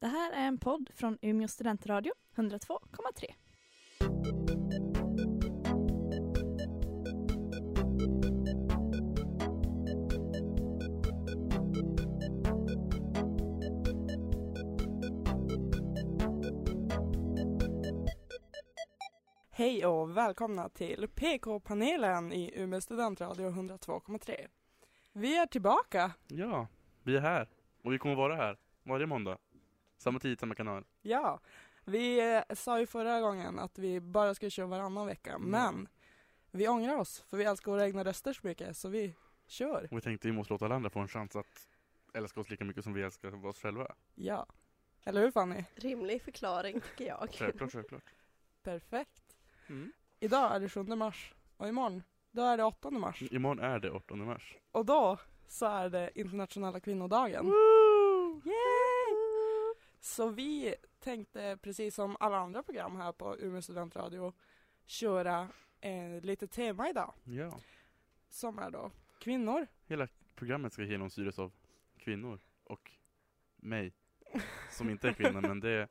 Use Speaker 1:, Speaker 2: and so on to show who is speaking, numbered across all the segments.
Speaker 1: Det här är en podd från Umeå studentradio, 102,3.
Speaker 2: Hej och välkomna till PK-panelen i Umeå studentradio 102,3. Vi är tillbaka.
Speaker 3: Ja, vi är här. Och vi kommer vara här varje måndag. Samma tid, samma kanal.
Speaker 2: Ja, vi eh, sa ju förra gången att vi bara skulle köra varannan vecka,
Speaker 3: Mm.
Speaker 2: men vi ångrar oss för vi älskar våra egna röster så mycket så vi kör.
Speaker 3: Och vi tänkte vi måste låta alla andra få en chans att älska oss lika mycket som vi älskar oss själva.
Speaker 2: Ja, eller hur Fanny?
Speaker 4: Rimlig förklaring tycker jag.
Speaker 3: Självklart, självklart.
Speaker 2: Perfekt.
Speaker 3: Mm.
Speaker 2: Idag är det 7 mars och imorgon, då är det 8 mars.
Speaker 3: Imorgon är det 18 mars.
Speaker 2: Och då så är det internationella kvinnodagen. Yay! Så vi tänkte precis som alla andra program här på Umeå studentradio köra eh, lite tema idag
Speaker 3: Ja,
Speaker 2: som är då kvinnor.
Speaker 3: hela programmet ska genomsyras av kvinnor och mig, som inte är kvinna, men det,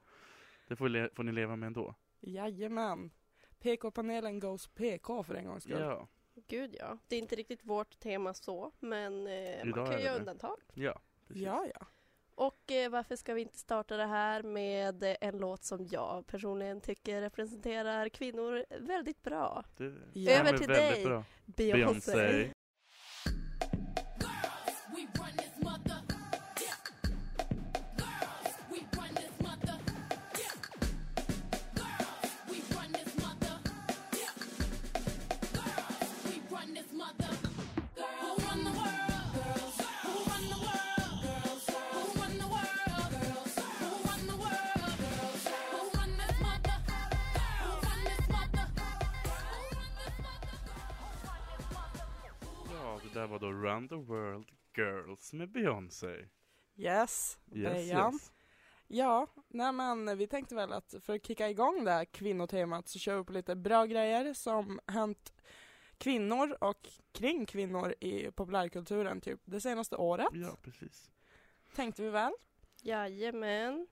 Speaker 3: det får, le- får ni leva med ändå.
Speaker 2: Jajamän. PK-panelen goes PK för en gångs skull.
Speaker 3: Ja,
Speaker 4: Gud ja. Det är inte riktigt vårt tema så, men eh, man
Speaker 3: Idag är
Speaker 4: kan
Speaker 3: det
Speaker 4: ju göra
Speaker 3: det.
Speaker 4: undantag.
Speaker 3: ja. precis.
Speaker 2: ja, ja.
Speaker 4: Och eh, varför ska vi inte starta det här med eh, en låt som jag personligen tycker representerar kvinnor väldigt bra?
Speaker 3: Det
Speaker 2: Ja.
Speaker 3: stämmer
Speaker 4: Över till
Speaker 3: väldigt
Speaker 4: dig,
Speaker 3: bra.
Speaker 4: Beyoncé.
Speaker 3: Beyoncé.
Speaker 5: We run this mother. Yeah. Girls, we run this mother. Yeah. Girls, we run this mother. Yeah. Girls, we run this mother. Girls, who run the world? Girls, who run the world? Girls, who run the world? Girls, who run the world? Girls, who run this mother? Who run this mother? Who run this mother? Who run this mother?
Speaker 3: Ja, det där var då Run the World Girls med Beyoncé.
Speaker 2: Yes,
Speaker 3: Yes,
Speaker 2: Dejan.
Speaker 3: yes.
Speaker 2: Ja, nej men vi tänkte väl att för att kicka igång det här kvinnotemat så kör vi på lite bra grejer som hänt kvinnor och kring kvinnor i populärkulturen typ det senaste året.
Speaker 3: Ja, precis.
Speaker 2: Tänkte vi väl?
Speaker 4: Jajamän.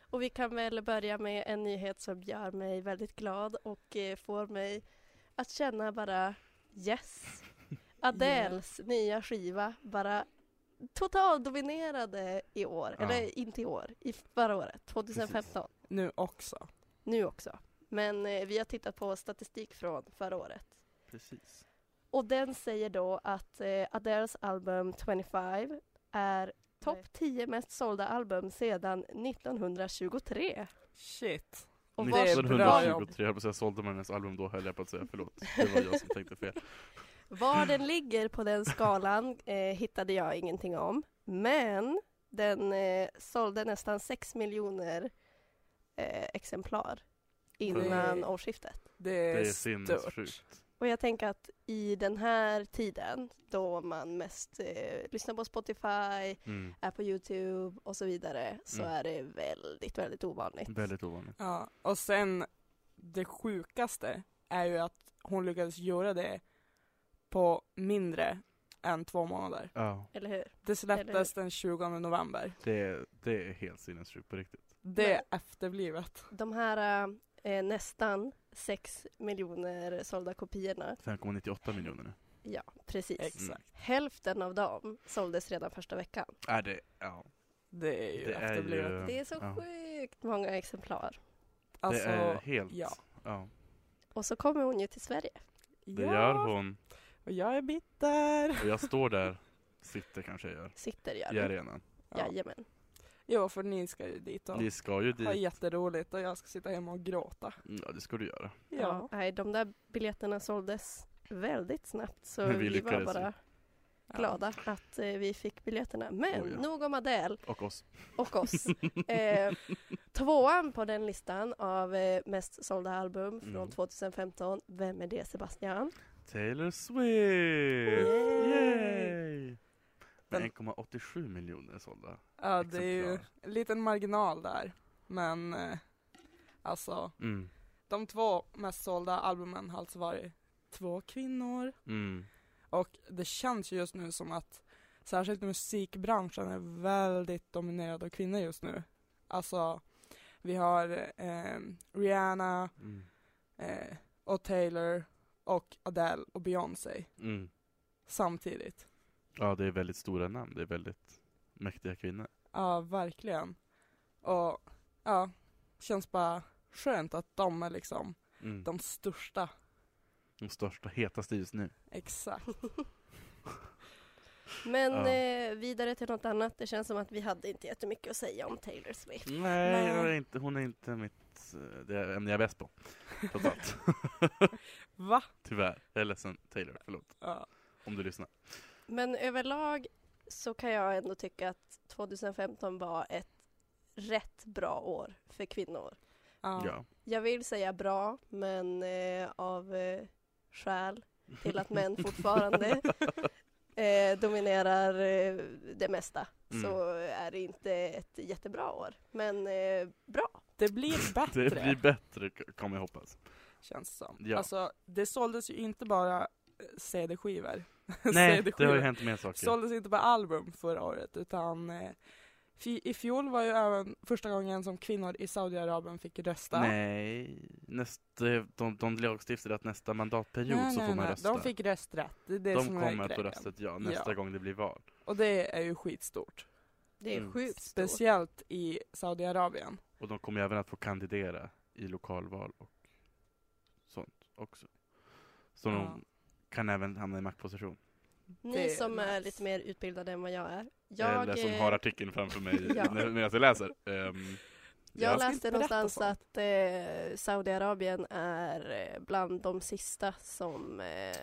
Speaker 4: Och vi kan väl börja med en nyhet som gör mig väldigt glad och eh, får mig att känna bara yes. Adels nya skiva bara totaldominerade i år,
Speaker 3: Ja.
Speaker 4: eller inte i år, i förra året, 2015.
Speaker 2: Nu också.
Speaker 4: Nu också. Men eh, vi har tittat på statistik från förra året.
Speaker 3: precis.
Speaker 4: Och den säger då att eh, Adels album 25 är topp 10 mest sålda album sedan 1923.
Speaker 2: Shit.
Speaker 4: Och
Speaker 2: Det är bra
Speaker 3: 1923 höll på att säga, sålde man hennes album då höll jag på att säga förlåt. Det var jag som tänkte fel.
Speaker 4: Var den ligger på den skalan eh, hittade jag ingenting om. Men den eh, sålde nästan 6 miljoner eh, exemplar innan
Speaker 2: Det-
Speaker 4: årsskiftet.
Speaker 2: Det är,
Speaker 3: Det är
Speaker 2: stört.
Speaker 3: sinnessjukt.
Speaker 4: Och jag tänker att i den här tiden då man mest eh, lyssnar på Spotify,
Speaker 3: Mm.
Speaker 4: är på Youtube och så vidare så
Speaker 3: Mm.
Speaker 4: är det väldigt, väldigt ovanligt.
Speaker 3: Väldigt ovanligt.
Speaker 2: Ja, och sen det sjukaste är ju att hon lyckades göra det på mindre än två månader.
Speaker 3: Ja,
Speaker 4: Eller hur?
Speaker 2: Det
Speaker 4: Eller
Speaker 2: släpptes
Speaker 4: hur?
Speaker 2: den 20 november.
Speaker 3: det är, det är helt sinnessjukt på riktigt.
Speaker 2: Det är
Speaker 4: Men-
Speaker 2: efterblivet.
Speaker 4: De här eh, nästan 6 miljoner sålda kopiorna,
Speaker 3: 5,98 miljoner nu. Mm.
Speaker 4: ja precis.
Speaker 2: Exakt.
Speaker 4: Hälften av dem såldes redan första veckan.
Speaker 3: Är det, ja.
Speaker 2: Det är ju
Speaker 3: Det är
Speaker 2: efterblivet.
Speaker 3: ju,
Speaker 4: Det är så
Speaker 3: ja.
Speaker 4: sjukt många exemplar.
Speaker 2: Alltså,
Speaker 3: det är helt,
Speaker 2: ja.
Speaker 3: ja.
Speaker 4: Och så kommer hon ju till Sverige.
Speaker 3: Det
Speaker 2: ja,
Speaker 3: gör hon.
Speaker 2: Och jag är bitter.
Speaker 3: Och jag står där, sitter kanske jag gör,
Speaker 4: Sitter gör
Speaker 3: i
Speaker 4: hon.
Speaker 3: arenan.
Speaker 4: Jajamän.
Speaker 2: Jo, för ni ska ju dit och
Speaker 3: Ni ska ju
Speaker 2: ha
Speaker 3: dit. Mm,
Speaker 2: jätteroligt och jag ska sitta hemma och gråta.
Speaker 3: Ja, det ska du göra.
Speaker 4: Ja. Nej, de där biljetterna såldes väldigt snabbt så
Speaker 3: Men vi
Speaker 4: vi, var
Speaker 3: lyckades
Speaker 4: bara glada att eh, vi fick biljetterna. Men
Speaker 3: Oj, ja.
Speaker 4: nog om Adele.
Speaker 3: Och oss.
Speaker 4: och oss. Eh, tvåan på den listan av eh, mest sålda album från
Speaker 3: Mm.
Speaker 4: 2015. Vem är det Sebastian?
Speaker 3: Taylor Swift!
Speaker 4: Yay!
Speaker 3: Yay! Med
Speaker 2: Den-
Speaker 3: 1,87 miljoner sålda.
Speaker 2: Ja, det är ju
Speaker 3: exemplar.
Speaker 2: en liten marginal där. Men eh, alltså,
Speaker 3: Mm.
Speaker 2: de två mest sålda albumen har alltså varit två kvinnor.
Speaker 3: Mm.
Speaker 2: Och det känns ju just nu som att särskilt musikbranschen är väldigt dominerad av kvinnor just nu. Alltså, vi har eh, Rihanna
Speaker 3: Mm.
Speaker 2: eh, och Taylor och Adele och Beyoncé
Speaker 3: Mm.
Speaker 2: samtidigt.
Speaker 3: Ja, det är väldigt stora namn. Det är väldigt mäktiga kvinnor.
Speaker 2: Ja, verkligen. Och ja, känns bara skönt att de är liksom
Speaker 3: Mm.
Speaker 2: de största.
Speaker 3: De största, hetaste just nu.
Speaker 2: Exakt.
Speaker 4: Men
Speaker 3: Ja.
Speaker 4: eh, vidare till något annat. Det känns som att vi hade inte jättemycket att säga om Taylor Swift.
Speaker 3: Nej,
Speaker 2: Nej.
Speaker 3: Jag är inte, hon är inte mitt, eh, det ämne jag är bäst på. Trots allt.
Speaker 2: Va?
Speaker 3: Tyvärr. Jag är ledsen Taylor, förlåt.
Speaker 2: Ja.
Speaker 3: Om du lyssnar.
Speaker 4: Men överlag så kan jag ändå tycka att 2015 var ett rätt bra år för kvinnor.
Speaker 2: Ja.
Speaker 3: Ja.
Speaker 4: Jag vill säga bra, men eh, av eh, skäl till att män fortfarande eh, dominerar eh, det mesta
Speaker 3: Mm.
Speaker 4: så är det inte ett jättebra år. Men eh, bra.
Speaker 2: Det blir bättre,
Speaker 3: Det blir bättre k- kommer jag hoppas.
Speaker 2: känns som.
Speaker 3: Ja.
Speaker 2: Alltså, det såldes ju inte bara eh, CD-skivor.
Speaker 3: Nej, det har
Speaker 2: CD-skivor.
Speaker 3: ju hänt mer saker.
Speaker 2: såldes inte bara album förra året, utan eh, fi- i fjol var ju även första gången som kvinnor i Saudiarabien fick rösta.
Speaker 3: Nej, nästa, de, de lagstiftade att nästa mandatperiod
Speaker 2: Nej,
Speaker 3: så
Speaker 2: nej,
Speaker 3: får man
Speaker 2: nej.
Speaker 3: rösta.
Speaker 2: De fick rösträtt, det är det
Speaker 3: De
Speaker 2: som är
Speaker 3: kommer att få
Speaker 2: grejen.
Speaker 3: röstet ja, nästa
Speaker 2: Ja.
Speaker 3: gång det blir val.
Speaker 2: Och det är ju skitstort.
Speaker 4: Det är
Speaker 3: Mm.
Speaker 4: sjukt stort.
Speaker 2: Speciellt i Saudiarabien.
Speaker 3: Och de kommer även att få kandidera i lokalval och sånt också. Så
Speaker 2: Ja.
Speaker 3: de kan även hamna i maktposition.
Speaker 2: Det
Speaker 4: Ni
Speaker 2: är
Speaker 4: som är
Speaker 2: nice.
Speaker 4: lite mer utbildade än vad jag är. Jag,
Speaker 3: Eller som
Speaker 4: eh,
Speaker 3: har artikeln framför mig
Speaker 4: ja.
Speaker 3: när- medan jag läser. Ehm,
Speaker 4: Jag
Speaker 3: ja.
Speaker 2: ska
Speaker 4: läste
Speaker 2: inte berätta
Speaker 4: någonstans
Speaker 2: sånt.
Speaker 4: att eh, Saudiarabien är eh, bland de sista som eh,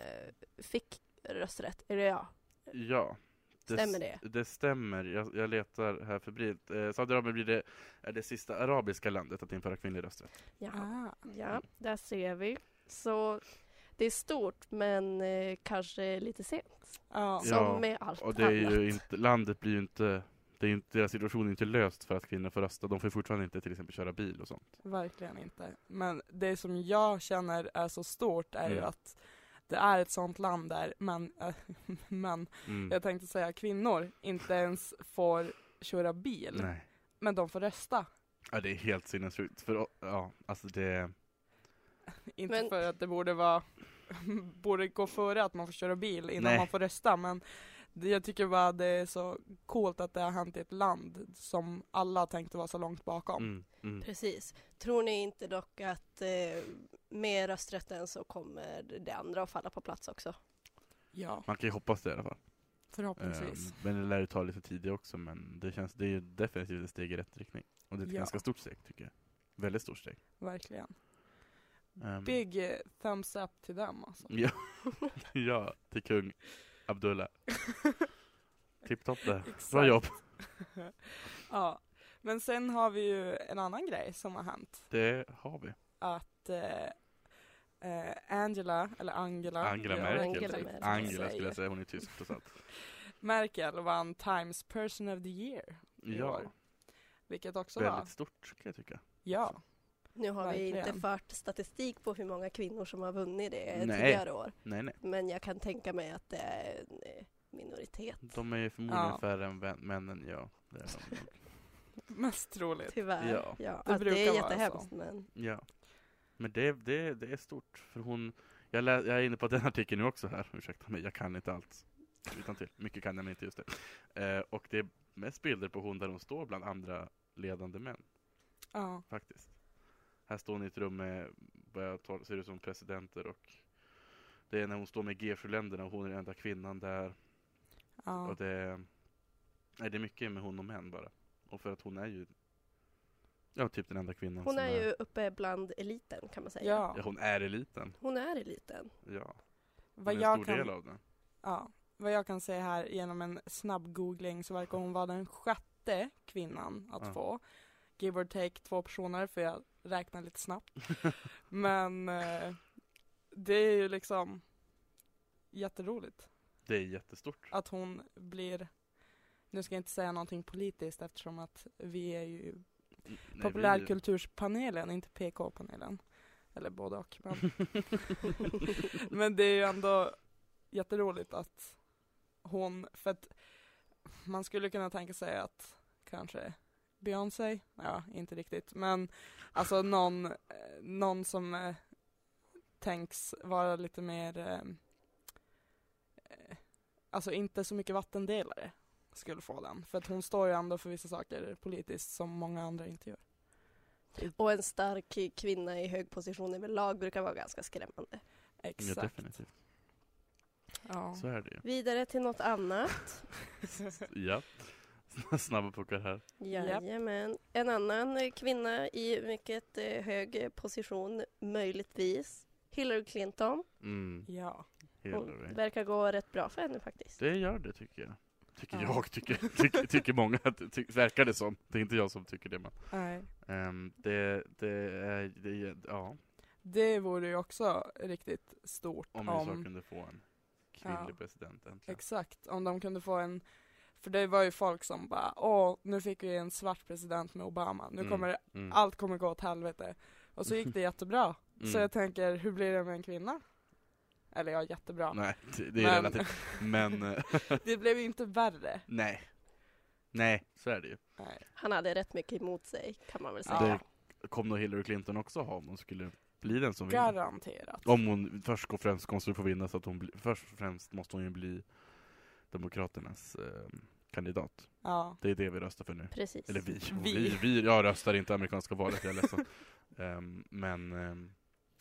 Speaker 4: fick rösträtt. Eller ja,
Speaker 3: ja.
Speaker 4: Stämmer
Speaker 3: s- Det stämmer. Jag, jag letar här febrilt. Eh, Saudiarabien blir det, är det sista arabiska landet att införa kvinnlig rösträtt.
Speaker 4: ja,
Speaker 2: Ah.
Speaker 4: ja, där ser vi. Så det är stort men eh, kanske lite sent.
Speaker 2: Ja.
Speaker 3: Ja.
Speaker 4: Som med allt
Speaker 3: Och det är
Speaker 4: annat.
Speaker 3: ju inte, landet blir ju inte, det är ju inte, deras situation är inte löst för att kvinnor får rösta. De får fortfarande inte till exempel köra bil och sånt.
Speaker 2: Verkligen inte. Men det som jag känner är så stort är ju
Speaker 3: Mm.
Speaker 2: att det är ett sånt land där man, äh, man,
Speaker 3: Mm.
Speaker 2: jag tänkte säga kvinnor, inte ens får köra bil.
Speaker 3: Nej.
Speaker 2: Men de får rösta.
Speaker 3: Ja, det är helt sinnessjukt. För ja, alltså det...
Speaker 2: Inte
Speaker 4: Men-
Speaker 2: för att det borde vara, borde gå före att man får köra bil innan
Speaker 3: Nej.
Speaker 2: man får rösta. Men det, jag tycker bara det är så coolt att det har hänt i ett land som alla tänkte vara så långt bakom.
Speaker 3: Mm, mm.
Speaker 4: Precis. Tror ni inte dock att eh, med rösträtten så kommer det andra att falla på plats också?
Speaker 2: Ja,
Speaker 3: Man kan ju hoppas det i alla fall.
Speaker 2: förhoppningsvis.
Speaker 3: Eh, men det lär ju ta lite tid det också, men det känns, det är ju definitivt ett steg i rätt riktning. Och det är ett
Speaker 2: Ja.
Speaker 3: ganska stort steg, tycker jag. Väldigt stort steg.
Speaker 2: Verkligen.
Speaker 3: Ehm,
Speaker 2: Big eh, thumbs up till dem alltså.
Speaker 3: Ja, ja, till kung Abdullah. Tipptopp där. Bra
Speaker 2: Exakt.
Speaker 3: jobb.
Speaker 2: Ja, men sen har vi ju en annan grej som har hänt.
Speaker 3: Det har vi.
Speaker 2: Att eh, eh, Angela, eller Angela,
Speaker 3: Angela
Speaker 2: ja,
Speaker 3: Merkel.
Speaker 4: Angela
Speaker 2: typ,
Speaker 4: Merkel.
Speaker 2: som
Speaker 3: Angela
Speaker 2: jag
Speaker 3: skulle
Speaker 2: säger.
Speaker 3: jag säga, hon är tysk trots allt.
Speaker 2: Merkel vann Times person of the year, I
Speaker 3: Ja,
Speaker 2: år. vilket också var,
Speaker 3: väldigt stort kan jag tycka.
Speaker 2: ja,
Speaker 4: Nu har vi inte
Speaker 2: Verkligen.
Speaker 4: fört statistik på hur många kvinnor som har vunnit det
Speaker 3: Nej.
Speaker 4: tidigare år.
Speaker 3: Nej, nej.
Speaker 4: Men jag kan tänka mig att det är en eh, minoritet,
Speaker 3: De är ju förmodligen
Speaker 2: Ja.
Speaker 3: färre än vän- männen, ja. Det är de nog.
Speaker 2: mest troligt.
Speaker 4: tyvärr.
Speaker 3: Ja.
Speaker 4: Ja.
Speaker 2: Det
Speaker 4: att det
Speaker 2: brukar
Speaker 4: är
Speaker 2: vara
Speaker 4: jättehemskt,
Speaker 2: så.
Speaker 4: men
Speaker 3: Ja. Men det, det, det är stort, för hon... Jag, lä, jag är inne på den artikeln nu också här, ursäkta mig, jag kan inte allt utan till. Mycket kan jag men inte just det. Eh, och det är mest bilder på hon där hon står bland andra ledande män,
Speaker 2: Ja,
Speaker 3: faktiskt. Här står hon i ett rum med, vad jag tar, ser ut som presidenter och det är när hon står med G7-länderna och hon är den enda kvinnan där.
Speaker 2: ja.
Speaker 3: Och det, nej, det är mycket med hon och män bara. Och för att hon är ju, ja, typ den enda kvinnan
Speaker 4: hon
Speaker 3: som
Speaker 4: är ju uppe bland eliten kan man säga.
Speaker 3: Ja,
Speaker 2: ja.
Speaker 3: hon är eliten.
Speaker 4: Hon är eliten.
Speaker 3: Ja.
Speaker 2: Vad
Speaker 3: Hon är en
Speaker 2: jag
Speaker 3: stor
Speaker 2: kan
Speaker 3: del av den.
Speaker 2: Ja, vad jag kan säga här genom en snabb googling så verkar hon vara den sjätte kvinnan att
Speaker 3: Ja.
Speaker 2: få. Give or take två personer för jag räknar lite snabbt. Men eh, det är ju liksom jätteroligt
Speaker 3: Det är jättestort.
Speaker 2: att hon blir nu ska jag inte säga någonting politiskt eftersom att vi är ju
Speaker 3: Nej, vi-
Speaker 2: populärkulturspanelen, inte PK-panelen. Eller både och. Men, men det är ju ändå jätteroligt att hon, för att man skulle kunna tänka sig att kanske Beyoncé, ja inte riktigt, men alltså någon, eh, någon som eh, tänks vara lite mer, eh, eh, alltså inte så mycket vattendelare skulle få den. För att hon står ju ändå för vissa saker politiskt som många andra inte gör.
Speaker 4: Och en stark kvinna i hög position överlag brukar vara ganska skrämmande.
Speaker 3: Ja,
Speaker 2: Exakt.
Speaker 3: definitivt.
Speaker 2: Ja.
Speaker 3: Så är det ju.
Speaker 4: Vidare till något annat.
Speaker 3: Ja. Snabba puckar här.
Speaker 4: Jajamän. En annan eh, kvinna i mycket eh, hög position, möjligtvis, Hillary Clinton.
Speaker 3: Mm,
Speaker 2: ja.
Speaker 3: Hillary.
Speaker 4: Hon verkar gå rätt bra för henne faktiskt.
Speaker 3: Det gör det tycker jag. Tycker
Speaker 2: Ja.
Speaker 3: jag, tycker, tycker, tycker många, att det ty, verkar det som. Det är inte jag som tycker det men.
Speaker 2: Nej.
Speaker 3: Ehm, det, det, är- det, är- ja,
Speaker 2: Det vore ju också riktigt stort
Speaker 3: om
Speaker 2: om,
Speaker 3: USA kunde få en kvinnlig
Speaker 2: Ja.
Speaker 3: president äntligen.
Speaker 2: exakt, om de kunde få en för det var ju folk som bara, åh, nu fick vi en svart president med Obama, nu
Speaker 3: Mm.
Speaker 2: kommer det,
Speaker 3: Mm,
Speaker 2: allt kommer gå åt helvete. Och så gick det jättebra.
Speaker 3: mm.
Speaker 2: Så jag tänker, hur blir det med en kvinna? Eller ja, jättebra.
Speaker 3: Nej, det, det är
Speaker 2: Men-
Speaker 3: relativt. Men, eh,
Speaker 2: Det blev ju inte värre.
Speaker 3: nej. Nej, så är det ju.
Speaker 2: Nej.
Speaker 4: Han hade rätt mycket emot sig kan man väl
Speaker 2: Ja.
Speaker 4: säga.
Speaker 3: Kommer nog Hillary Clinton också ha om hon skulle bli den som vinner?
Speaker 2: Garanterat.
Speaker 3: Om hon först och främst måste få vinna så att hon bli, först och främst måste hon ju bli Demokraternas eh, kandidat.
Speaker 2: Ja.
Speaker 3: Det är det vi röstar för nu.
Speaker 4: Precis.
Speaker 3: Eller vi.
Speaker 2: Vi.
Speaker 3: Vi. vi, jag röstar inte amerikanska valet, jag är ledsen. Ehm, men ehm,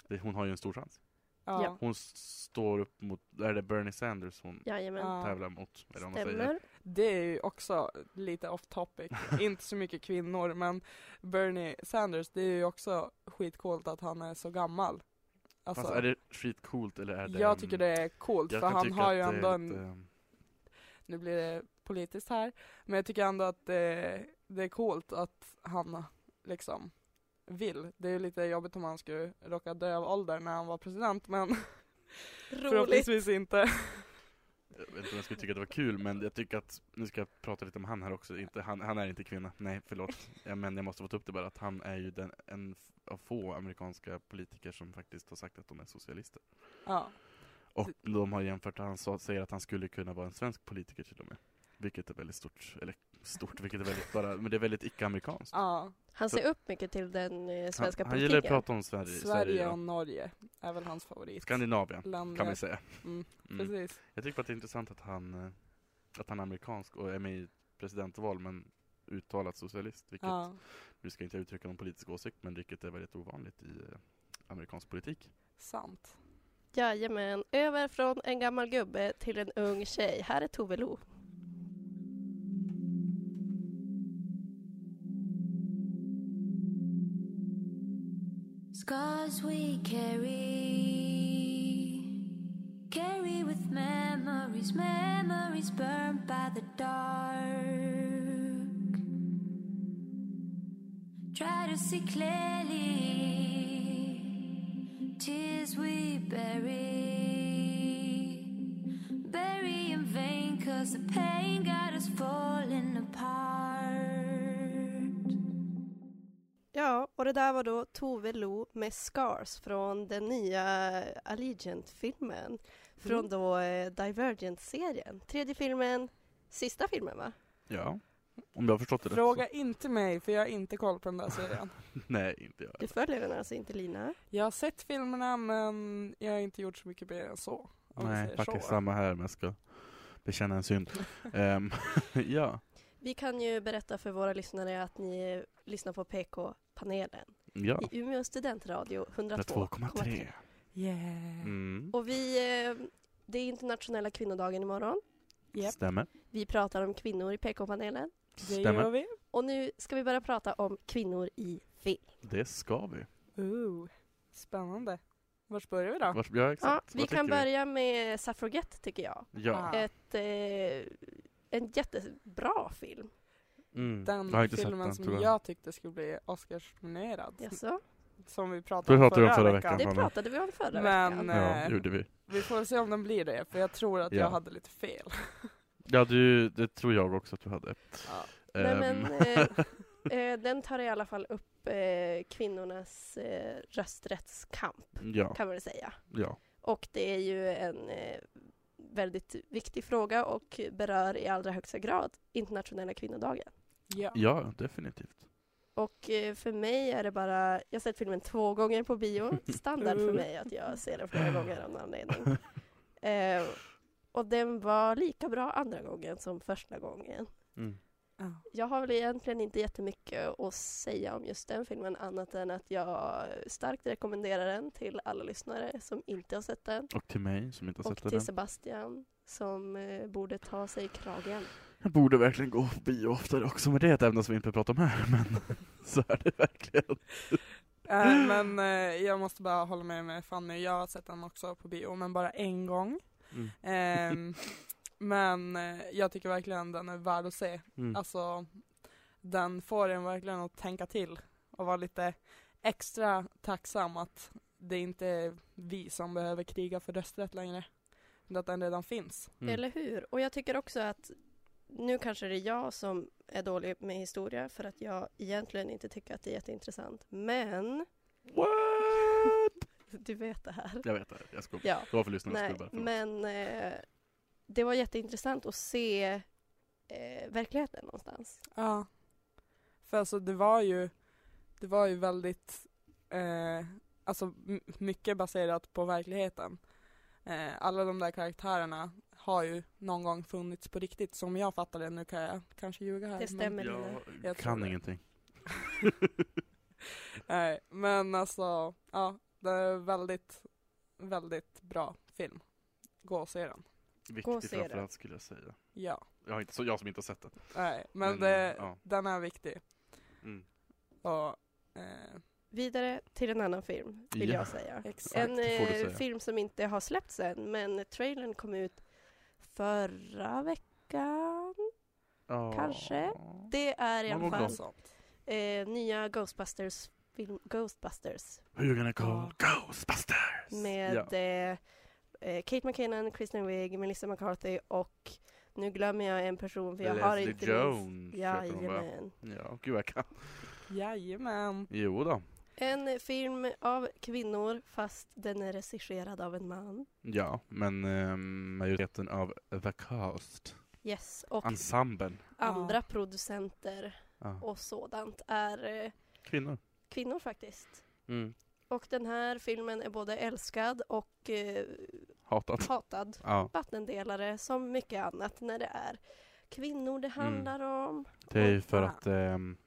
Speaker 3: det, hon har ju en stor chans.
Speaker 2: Ja.
Speaker 4: Ja.
Speaker 3: Hon s- står upp mot, är det Bernie Sanders hon
Speaker 4: Jajamän.
Speaker 2: Ja.
Speaker 3: tävlar mot? Eller vad man säger.
Speaker 4: Stämmer.
Speaker 2: Det är ju också lite off topic. inte så mycket kvinnor, men Bernie Sanders, det är ju också skitcoolt att han är så gammal. Alltså,
Speaker 3: Fast är det skitcoolt eller är det...
Speaker 2: jag tycker det är coolt,
Speaker 3: jag
Speaker 2: för
Speaker 3: kan
Speaker 2: han
Speaker 3: tycka
Speaker 2: har ju
Speaker 3: att det är
Speaker 2: ändå en,
Speaker 3: lite,
Speaker 2: nu blir det politiskt här, men jag tycker ändå att det, det är coolt att han liksom vill. Det är ju lite jobbigt om han skulle råka dö av ålder när han var president, men
Speaker 4: Roligt.
Speaker 2: förhoppningsvis inte.
Speaker 3: Jag vet inte om jag skulle tycka att det var kul, men jag tycker att, nu ska jag prata lite om han här också, inte, han, han är inte kvinna, nej förlåt, ja, men jag måste få ta upp det bara, att han är ju den, en f- av få amerikanska politiker som faktiskt har sagt att de är socialister.
Speaker 2: Ja,
Speaker 3: Och
Speaker 2: Typ.
Speaker 3: de har jämfört, han sa, säger att han skulle kunna vara en svensk politiker till och med. Vilket är väldigt stort, eller stort, vilket är väldigt bara, men det är väldigt icke-amerikanskt.
Speaker 2: ja.
Speaker 4: Han ser upp mycket till den eh,
Speaker 3: Han,
Speaker 4: svenska
Speaker 3: han gillar att
Speaker 4: politiken.
Speaker 3: prata om Sverige, Sverige
Speaker 2: Sverige
Speaker 3: ja.
Speaker 2: och Norge är väl hans favorit.
Speaker 3: Skandinavien,
Speaker 2: Länder.
Speaker 3: kan vi säga.
Speaker 2: Mm,
Speaker 3: Mm.
Speaker 2: Precis.
Speaker 3: Jag tycker bara att det är intressant att han, eh, att han är amerikansk och är med i ett presidentval men uttalat socialist. Vilket,
Speaker 2: Ja.
Speaker 3: Nu ska jag inte uttrycka någon politisk åsikt men vilket är väldigt ovanligt i eh, amerikansk politik.
Speaker 2: Sant.
Speaker 4: Jajamän. Över från en gammal gubbe till en ung tjej. Här är Tove Lo.
Speaker 6: Scars we carry, carry with memories, memories burned by the dark. Try to see clearly, tears we bury, bury in vain, cause the pain got us falling apart.
Speaker 4: Ja, och det där var då Tove Lo med Scars från den nya Allegiant-filmen. Från
Speaker 2: Mm.
Speaker 4: då eh, Divergent-serien. Tredje filmen, sista filmen va?
Speaker 3: Ja, om jag har förstått det rätt
Speaker 2: Fråga inte mig för jag har inte koll på den där serien.
Speaker 3: så- Nej, inte jag.
Speaker 4: Du följer den alltså inte Lina?
Speaker 2: Jag har sett filmerna men jag har inte gjort så mycket mer än så. om vi
Speaker 3: Nej,
Speaker 2: säger så.
Speaker 3: faktiskt samma här men jag ska bekänna en synd. Ehm, ja,
Speaker 4: Vi kan ju berätta för våra lyssnare att ni eh, lyssnar på PK-panelen
Speaker 3: ja.
Speaker 4: i Umeå studentradio 102,3.
Speaker 3: 2,3.
Speaker 2: Yeah.
Speaker 3: Mm.
Speaker 4: Och vi, eh, det är internationella kvinnodagen imorgon.
Speaker 2: Japp.
Speaker 3: Stämmer.
Speaker 4: Vi pratar om kvinnor i PK-panelen.
Speaker 2: Det gör
Speaker 3: Stämmer.
Speaker 2: vi.
Speaker 4: Och nu ska vi börja prata om kvinnor i film.
Speaker 3: Det ska vi.
Speaker 2: Ooh. Spännande. Vart börjar vi då?
Speaker 3: Vars, ja,
Speaker 4: Ja,
Speaker 3: exakt.
Speaker 4: vi
Speaker 3: Vad
Speaker 4: kan
Speaker 3: tycker vi?
Speaker 4: börja med Suffragette tycker jag.
Speaker 3: Ja.
Speaker 2: Ah,
Speaker 4: Ett, eh, en jättebra film.
Speaker 3: Mm.
Speaker 2: den
Speaker 3: Jag har inte sett
Speaker 2: filmen
Speaker 3: den,
Speaker 2: som
Speaker 3: tror
Speaker 2: jag.
Speaker 3: jag.
Speaker 2: tyckte skulle bli Oscarsnominerad.
Speaker 3: Mm.
Speaker 4: Jaså?
Speaker 2: Som vi
Speaker 3: Det
Speaker 2: pratade om
Speaker 3: pratade vi
Speaker 2: förra,
Speaker 3: om förra
Speaker 2: veckan.
Speaker 3: veckan.
Speaker 4: Det
Speaker 3: Anna.
Speaker 4: pratade vi om förra
Speaker 2: Men,
Speaker 4: veckan.
Speaker 2: eh,
Speaker 3: Ja,
Speaker 2: Nej.
Speaker 3: det gjorde vi.
Speaker 2: Vi får se om den blir det, för jag tror att
Speaker 3: Ja.
Speaker 2: jag hade lite fel.
Speaker 3: Ja, du, det tror jag också att du hade.
Speaker 2: Ja.
Speaker 4: Nej,
Speaker 3: Ehm,
Speaker 4: men, eh, eh, den tar i alla fall upp eh, kvinnornas eh, rösträttskamp,
Speaker 3: Ehm, ja,
Speaker 4: kan man väl säga.
Speaker 3: ja.
Speaker 4: Och det är ju en eh, väldigt viktig fråga och berör i allra högsta grad internationella kvinnodagen.
Speaker 2: Ja.
Speaker 3: Ja, definitivt.
Speaker 4: Och eh, för mig är det bara, jag har sett filmen två gånger på bio. Standard
Speaker 3: Mm.
Speaker 4: för mig att jag ser den flera gånger av någon anledning. Eh, och den var lika bra andra gången som första gången.
Speaker 3: Mm.
Speaker 2: Ja.
Speaker 4: Jag har väl egentligen inte jättemycket att säga om just den filmen annat än att jag starkt rekommenderar den till alla lyssnare som inte har sett den.
Speaker 3: Och till mig som inte har
Speaker 4: Och
Speaker 3: sett
Speaker 4: till
Speaker 3: den.
Speaker 4: Sebastian som eh, borde ta sig i kragen.
Speaker 3: Jag borde verkligen gå på bio oftare också, men det är ett ämne som vi inte pratar om här. Men så är det verkligen.
Speaker 2: Eh, men eh, jag måste bara hålla med med Fanny, jag har sett den också på bio, men bara en gång.
Speaker 3: Mm.
Speaker 2: Ehm, men eh, jag tycker verkligen den är värd att se.
Speaker 3: Mm.
Speaker 2: Alltså, den får en verkligen att tänka till och vara lite extra tacksam att det inte är vi som behöver kriga för rösträtt längre. Men Att den redan finns.
Speaker 3: Mm.
Speaker 4: Eller hur? Och jag tycker också att nu kanske det är jag som är dålig med historia för att jag egentligen inte tycker att det är jätteintressant. Men
Speaker 3: What?
Speaker 4: du vet det här.
Speaker 3: Jag vet det, jag skojar.
Speaker 4: Ja,
Speaker 3: Det var för lyssnarnas
Speaker 4: nej,
Speaker 3: skull bara. förlåt.
Speaker 4: men eh, det var jätteintressant att se eh, verkligheten någonstans.
Speaker 2: Ja. För alltså det var ju, det var ju väldigt, eh, alltså m- mycket baserat på verkligheten. Eh, alla de där karaktärerna har ju någon gång funnits på riktigt som jag fattar det. Nu kan jag kanske ljuga här.
Speaker 4: Det stämmer. men-
Speaker 3: Jag,
Speaker 2: Jag tror
Speaker 3: kan
Speaker 2: det.
Speaker 3: ingenting.
Speaker 2: Nej, men alltså, ja, det är väldigt, väldigt bra film. Gå och se den.
Speaker 4: Gå och
Speaker 3: Viktigt
Speaker 4: se den.
Speaker 3: framförallt skulle jag säga.
Speaker 2: Ja,
Speaker 3: Jag, har inte, så jag som inte har sett den.
Speaker 2: nej, men,
Speaker 3: Men,
Speaker 2: det,
Speaker 3: ja.
Speaker 2: den är viktig.
Speaker 3: Mm.
Speaker 2: Och, eh,
Speaker 4: Vidare till en annan film, vill
Speaker 3: Ja.
Speaker 4: jag säga.
Speaker 2: exakt.
Speaker 4: En
Speaker 3: det får du
Speaker 4: eh,
Speaker 3: säga.
Speaker 4: film som inte har släppts än, men trailern kom ut förra veckan.
Speaker 3: Ja.
Speaker 4: Kanske. Det är i
Speaker 3: Någon
Speaker 4: alla
Speaker 3: gång
Speaker 4: fall
Speaker 3: då.
Speaker 2: Sånt.
Speaker 4: eh, nya Ghostbusters, film Ghostbusters
Speaker 3: Who you gonna call? Ghostbusters!
Speaker 4: med
Speaker 3: Ja.
Speaker 4: eh, eh, Kate McKinnon, Kristen Wiig, Melissa McCarthy och nu glömmer jag en person för jag har
Speaker 3: Leslie
Speaker 4: inte
Speaker 3: Jones heter hon, va?
Speaker 4: Jajamän.
Speaker 3: Ja, gud vad jag kan.
Speaker 2: Jajamän.
Speaker 3: Jo då.
Speaker 4: En film av kvinnor fast den är regisserad av en man.
Speaker 3: Ja, men eh, majoriteten av The Cast,
Speaker 4: Yes, och
Speaker 3: ensemblen,
Speaker 4: andra
Speaker 2: Ja.
Speaker 4: producenter
Speaker 3: ja.
Speaker 4: och sådant är eh,
Speaker 3: kvinnor.
Speaker 4: kvinnor faktiskt.
Speaker 3: Mm.
Speaker 4: Och den här filmen är både älskad och eh,
Speaker 3: Hatat.
Speaker 4: hatad.
Speaker 3: Ja,
Speaker 4: vattendelare som mycket annat när det är kvinnor
Speaker 3: Mm.
Speaker 4: det handlar om.
Speaker 3: det är ju för
Speaker 2: Ja.
Speaker 3: att ehm,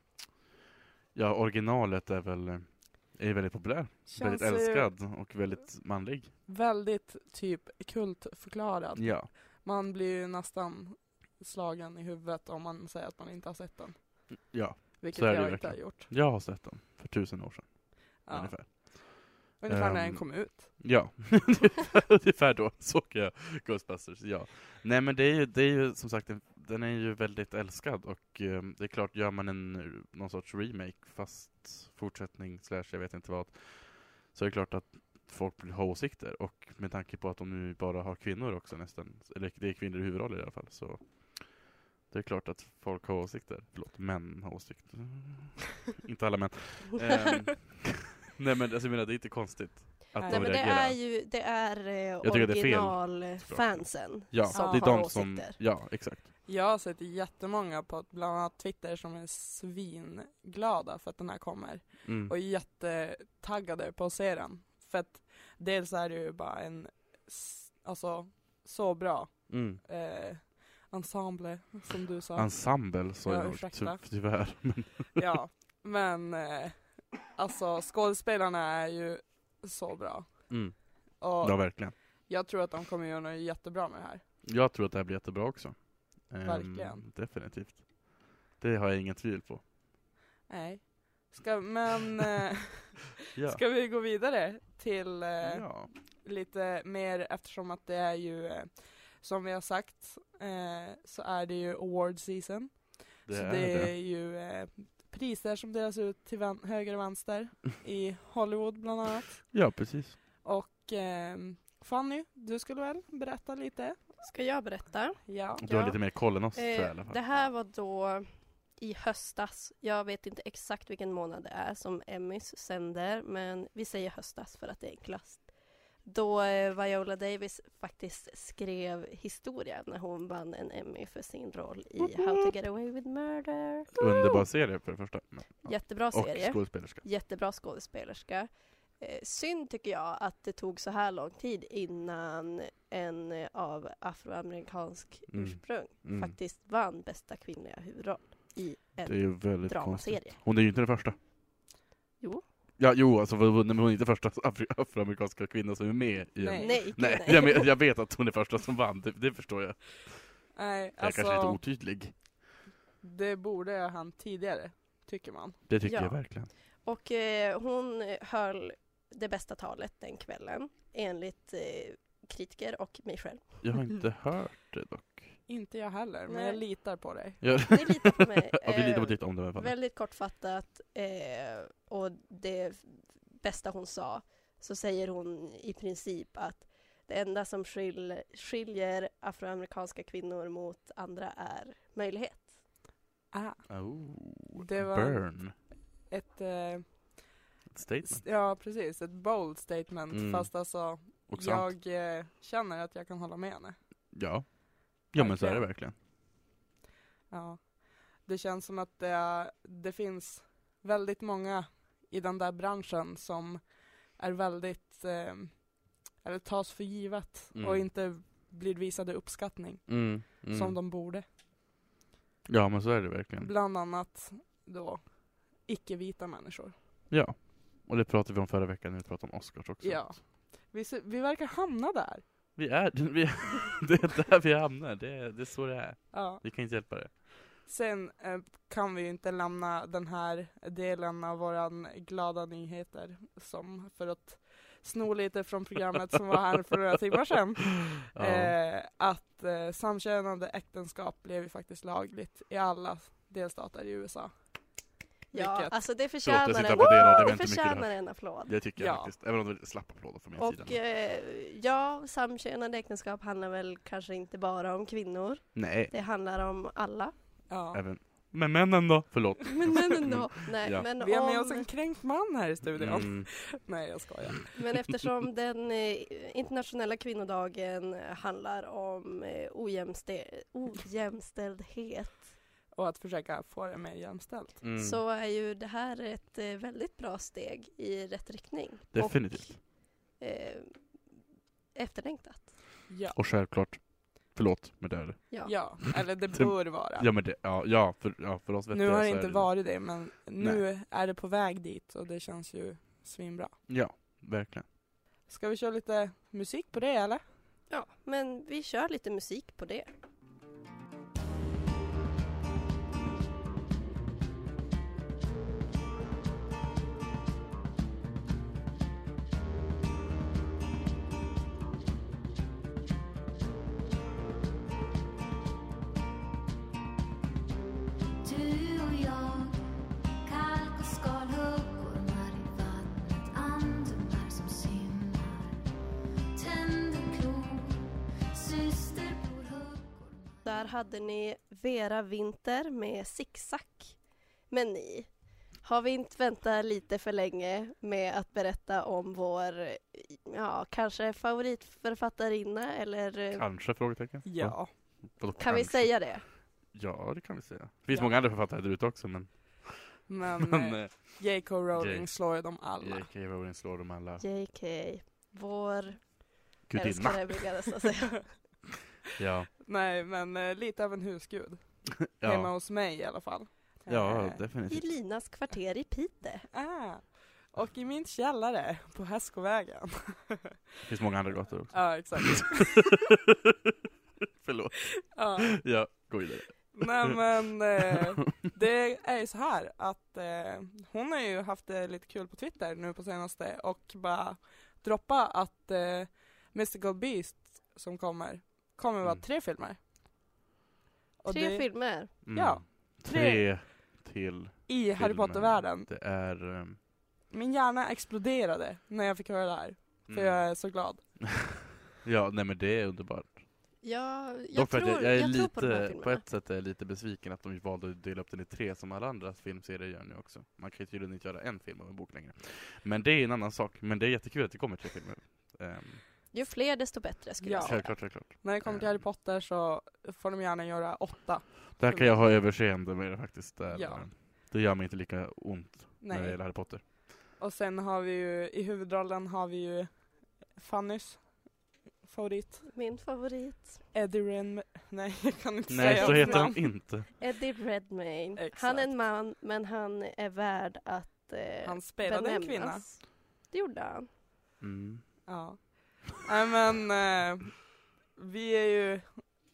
Speaker 3: ja, originalet är väl eh, är väldigt populär,
Speaker 2: Känns
Speaker 3: väldigt
Speaker 2: ju
Speaker 3: älskad och väldigt manlig.
Speaker 2: väldigt typ kultförklarad.
Speaker 3: Ja.
Speaker 2: Man blir ju nästan slagen i huvudet om man säger att man inte har sett den.
Speaker 3: Ja,
Speaker 2: Vilket
Speaker 3: Så är det
Speaker 2: jag
Speaker 3: ju
Speaker 2: inte har
Speaker 3: verkligen.
Speaker 2: gjort.
Speaker 3: jag har sett den för tusen år sedan
Speaker 2: Ja. Ungefär,
Speaker 3: ungefär.
Speaker 2: när den
Speaker 3: Ehm,
Speaker 2: kom ut.
Speaker 3: Ja, Ungefär- ungefär då såg jag Ghostbusters, ja. Nej men det är ju, det är ju som sagt, en- den är ju väldigt älskad och eh, det är klart, gör man en, eh, någon sorts remake, fast fortsättning, slash jag vet inte vad, så är det klart att folk vill ha åsikter och med tanke på att de nu bara har kvinnor också nästan, eller det är kvinnor i huvudroller i alla fall, så det är klart att folk har åsikter. Förlåt, män har åsikter. inte alla män. Ehm, nej men alltså, jag menar, det är inte konstigt
Speaker 2: Nej,
Speaker 3: att
Speaker 4: Nej,
Speaker 3: de
Speaker 4: men det
Speaker 3: reagerar.
Speaker 4: är ju det är eh,
Speaker 3: tycker det är fel.
Speaker 4: originalfansen
Speaker 3: Ja,
Speaker 4: som
Speaker 3: det är
Speaker 4: har
Speaker 3: de som,
Speaker 4: åsikter.
Speaker 3: ja exakt.
Speaker 2: Jag har sett jättemånga på bland annat Twitter som är svinglada för att den här kommer.
Speaker 3: Mm.
Speaker 2: och jättetaggade på att se den. För att dels är det ju bara en, s- alltså så bra
Speaker 3: Mm.
Speaker 2: eh, ensemble som du sa.
Speaker 3: Ensemble sa
Speaker 2: Ja,
Speaker 3: jag nog,
Speaker 2: ursäkta.
Speaker 3: ty- tyvärr. Men,
Speaker 2: ja, men eh, alltså skådespelarna är ju så bra.
Speaker 3: mm.
Speaker 2: Och
Speaker 3: Ja, verkligen.
Speaker 2: jag tror att de kommer göra något jättebra med det här.
Speaker 3: Jag tror att det här blir jättebra också. Ehm,
Speaker 2: Verkligen.
Speaker 3: Definitivt. Det har jag inget tvivel på.
Speaker 2: Nej. Ska, men eh,
Speaker 3: Ja.
Speaker 2: ska vi gå vidare till eh,
Speaker 3: ja.
Speaker 2: lite mer eftersom att det är ju eh, som vi har sagt eh, så är det ju award season.
Speaker 3: Det
Speaker 2: så
Speaker 3: är
Speaker 2: det är
Speaker 3: det.
Speaker 2: ju eh, priser som delas ut till vän- höger och vänster i Hollywood bland annat.
Speaker 3: Ja, precis.
Speaker 2: Och ehm, Fanny, du skulle väl berätta lite?
Speaker 4: Ska jag berätta?
Speaker 2: Ja.
Speaker 3: Du har
Speaker 4: Ja.
Speaker 3: lite mer koll än oss tror jag, i alla
Speaker 4: Eh,
Speaker 3: fall.
Speaker 4: det här var då i höstas. Jag vet inte exakt vilken månad det är som Emmys sänder men vi säger höstas för att det är enklast. Då eh, Viola Davis faktiskt skrev historia när hon vann en Emmy för sin roll i How to get away with murder.
Speaker 3: Underbar serie för det första. Men, ja.
Speaker 4: Jättebra
Speaker 3: och
Speaker 4: serie.
Speaker 3: skådespelerska.
Speaker 4: Jättebra skådespelerska. Eh, synd tycker jag att det tog så här lång tid innan en eh, av afroamerikansk
Speaker 3: Mm.
Speaker 4: ursprung
Speaker 3: Mm.
Speaker 4: faktiskt vann bästa kvinnliga huvudroll i
Speaker 3: Det är
Speaker 4: en
Speaker 3: ju väldigt konstigt.
Speaker 4: dramaserie.
Speaker 3: Hon är ju inte den första.
Speaker 4: Jo.
Speaker 3: Ja, jo, alltså hon, nej, men hon är inte första afri- afroamerikanska kvinnan som är med i en...
Speaker 2: Nej.
Speaker 4: Nej, gud,
Speaker 3: Nej, jag, men, jag vet att hon är första som vann, det, det förstår jag.
Speaker 2: Nej,
Speaker 3: Jag är kanske lite
Speaker 2: alltså
Speaker 3: otydlig.
Speaker 2: det borde ha han tidigare, tycker man.
Speaker 3: Det tycker
Speaker 4: Ja.
Speaker 3: jag verkligen.
Speaker 4: Och eh, hon höll det bästa talet den kvällen enligt eh, kritiker och mig själv.
Speaker 3: Jag har inte hört det dock.
Speaker 2: Inte jag heller, men
Speaker 4: Nej.
Speaker 2: jag litar på dig.
Speaker 3: Jag...
Speaker 4: Ni litar på mig.
Speaker 3: ja, vi litar
Speaker 4: Eh,
Speaker 3: på ditt om det i alla fall.
Speaker 4: Väldigt kortfattat eh, och det bästa hon sa så säger hon i princip att det enda som skil- skiljer afroamerikanska kvinnor mot andra är möjlighet.
Speaker 2: Ah,
Speaker 3: Oh,
Speaker 2: Det var-
Speaker 3: Burn.
Speaker 2: ett, eh,
Speaker 3: Ett statement.
Speaker 2: s- ja precis, ett bold statement
Speaker 3: Mm.
Speaker 2: fast alltså
Speaker 3: Och sant.
Speaker 2: jag eh, känner att jag kan hålla med henne.
Speaker 3: Ja. Ja men så är det verkligen.
Speaker 2: Ja. Det känns som att det, det finns väldigt många i den där branschen som är väldigt, eh, eller tas för givet
Speaker 3: Mm.
Speaker 2: och inte blir visade uppskattning
Speaker 3: Mm, mm.
Speaker 2: som de borde.
Speaker 3: Ja men så är det verkligen.
Speaker 2: Bland annat då icke-vita människor.
Speaker 3: Ja. Och det pratade vi om förra veckan när vi pratade om Oscars också.
Speaker 2: Ja. Vi, se- vi verkar hamna där.
Speaker 3: Vi är, vi, det är där vi hamnar, det är, det är så det är.
Speaker 2: Ja.
Speaker 3: Vi kan inte hjälpa det.
Speaker 2: Sen eh, kan vi ju inte lämna den här delen av våran glada nyheter som för att sno lite från programmet som var här för några timmar sedan.
Speaker 3: Ja.
Speaker 2: Eh, att eh, samkönade äktenskap blev ju faktiskt lagligt i alla delstater i USA.
Speaker 4: Ja,
Speaker 2: Vilket-
Speaker 4: alltså det
Speaker 3: Förlåt, jag
Speaker 4: förtjänar,
Speaker 3: sitter
Speaker 4: en,
Speaker 3: och applåderar, det var inte
Speaker 4: det
Speaker 3: mycket det
Speaker 4: förtjänar
Speaker 3: här.
Speaker 4: en applåd.
Speaker 3: Det tycker jag
Speaker 2: Ja.
Speaker 3: faktiskt, även om det var slapp applåder från min
Speaker 4: Och
Speaker 3: sida.
Speaker 4: eh, ja, samkönade äktenskap handlar väl kanske inte bara om kvinnor.
Speaker 3: Nej,
Speaker 4: Det handlar om alla.
Speaker 2: Ja.
Speaker 3: även. Men männen då? Förlåt.
Speaker 4: Men männen då? Nej,
Speaker 3: Ja.
Speaker 4: men
Speaker 2: Vi har
Speaker 4: om...
Speaker 2: med oss en kränkt man här i studion.
Speaker 3: Mm.
Speaker 2: Nej jag skojar.
Speaker 4: Men eftersom den eh, internationella kvinnodagen handlar om eh, ojämste- ojämställdhet
Speaker 2: Och att försöka få det mer jämställt.
Speaker 3: Mm.
Speaker 4: så är ju det här ett eh, väldigt bra steg i rätt riktning.
Speaker 3: Definitivt.
Speaker 4: Och, eh, efterlängtat.
Speaker 2: Ja.
Speaker 3: Och självklart, förlåt, men det är det.
Speaker 4: Ja.
Speaker 2: ja. Eller det
Speaker 3: Det-
Speaker 2: bör vara.
Speaker 3: Typ. Ja men det, ja, ja, för, ja, för oss vet
Speaker 2: Nu har det
Speaker 3: så är
Speaker 2: inte varit det men nu är det på väg dit och det känns ju svinbra.
Speaker 3: Ja, verkligen.
Speaker 2: Ska vi köra lite musik på det eller?
Speaker 4: ja, men vi kör lite musik på det.
Speaker 6: Du och jag, kalk och skalhuggormar i vattnet, andomar som simmar, tänder klor, systerbor, huggormar
Speaker 4: Där hade ni Vera Winter med Zigzag. Men ni, har vi inte väntat lite för länge med att berätta om vår, eh, ja, kanske favoritförfattarinna eller eh,
Speaker 3: Kanske? Frågetecken. Va?
Speaker 2: Ja.
Speaker 3: Vadå
Speaker 4: kan vi
Speaker 3: kanske?
Speaker 4: säga det?
Speaker 3: Ja, det kan vi säga. Det finns
Speaker 2: Ja.
Speaker 3: många andra författare där ute också, men...
Speaker 2: Men,
Speaker 3: men
Speaker 2: eh,
Speaker 3: eh,
Speaker 2: J.K. Rowling
Speaker 3: J-
Speaker 2: slår ju dem alla.
Speaker 3: J.K. Rowling slår dem alla.
Speaker 4: JK, vår
Speaker 3: Gudinna.
Speaker 4: älskare vill jag nästan säga.
Speaker 3: Ja.
Speaker 2: Nej men eh, lite av en husgud. Hemma
Speaker 3: Ja.
Speaker 2: hos mig i alla fall.
Speaker 3: ja,
Speaker 2: Eh,
Speaker 4: I
Speaker 3: definitivt.
Speaker 4: Linas kvarter i Pite.
Speaker 2: ah. Och i min källare på Häskovägen.
Speaker 3: Det finns många andra gator också.
Speaker 2: ja exakt.
Speaker 3: Förlåt.
Speaker 2: Ja.
Speaker 3: Ja, gå vidare.
Speaker 2: Nej men eh, det är ju så här att eh, hon har ju haft det lite kul på Twitter nu på senaste och bara droppa att eh, Mystical Beast som kommer, kommer vara
Speaker 3: Mm.
Speaker 2: tre filmer. Och
Speaker 4: Tre
Speaker 2: det-
Speaker 4: filmer.
Speaker 3: Mm.
Speaker 2: Ja.
Speaker 3: Tre till
Speaker 2: I Harry
Speaker 3: filmer.
Speaker 2: Potter-världen.
Speaker 3: Det är... ehm,
Speaker 2: Min hjärna exploderade när jag fick höra det här,
Speaker 3: Mm.
Speaker 2: för jag är så glad.
Speaker 3: Ja, nej men det är underbart.
Speaker 4: Ja, jag,
Speaker 3: Dock för
Speaker 4: tror,
Speaker 3: att
Speaker 4: jag,
Speaker 3: jag, jag är
Speaker 4: tror på de här
Speaker 3: lite, på,
Speaker 4: filmerna.
Speaker 3: ett sätt är jag lite besviken att de valde att dela upp den i tre som alla andra filmserier gör nu också. Man kan ju tydligen inte göra en film av en bok längre. Men det är en annan sak. Men det är jättekul att det kommer tre filmer. Ehm,
Speaker 4: Ju fler desto bättre skulle
Speaker 2: Ja.
Speaker 4: jag säga.
Speaker 3: Självklart, självklart.
Speaker 2: När det
Speaker 3: Eh.
Speaker 2: kommer till Harry Potter så får de gärna göra åtta.
Speaker 3: Där kan jag ha överseende med det faktiskt. Där. ehm,
Speaker 2: Ja.
Speaker 3: Det gör mig inte lika ont när det
Speaker 2: Nej.
Speaker 3: gäller Harry Potter.
Speaker 2: Och sen har vi ju, i huvudrollen har vi ju Fannys favorit.
Speaker 4: Min favorit,
Speaker 2: Eddie Ren... Nej, jag kan inte
Speaker 3: Nej,
Speaker 2: säga
Speaker 3: så
Speaker 2: hans
Speaker 3: heter han
Speaker 2: namn.
Speaker 3: inte.
Speaker 4: Eddie Redmayne.
Speaker 2: Exakt.
Speaker 4: Han är en man, men han är värd att eh,
Speaker 2: Han spelade en kvinna.
Speaker 4: benämnas. Det gjorde han.
Speaker 3: Mm.
Speaker 2: Ja. Nej men, eh, vi är ju,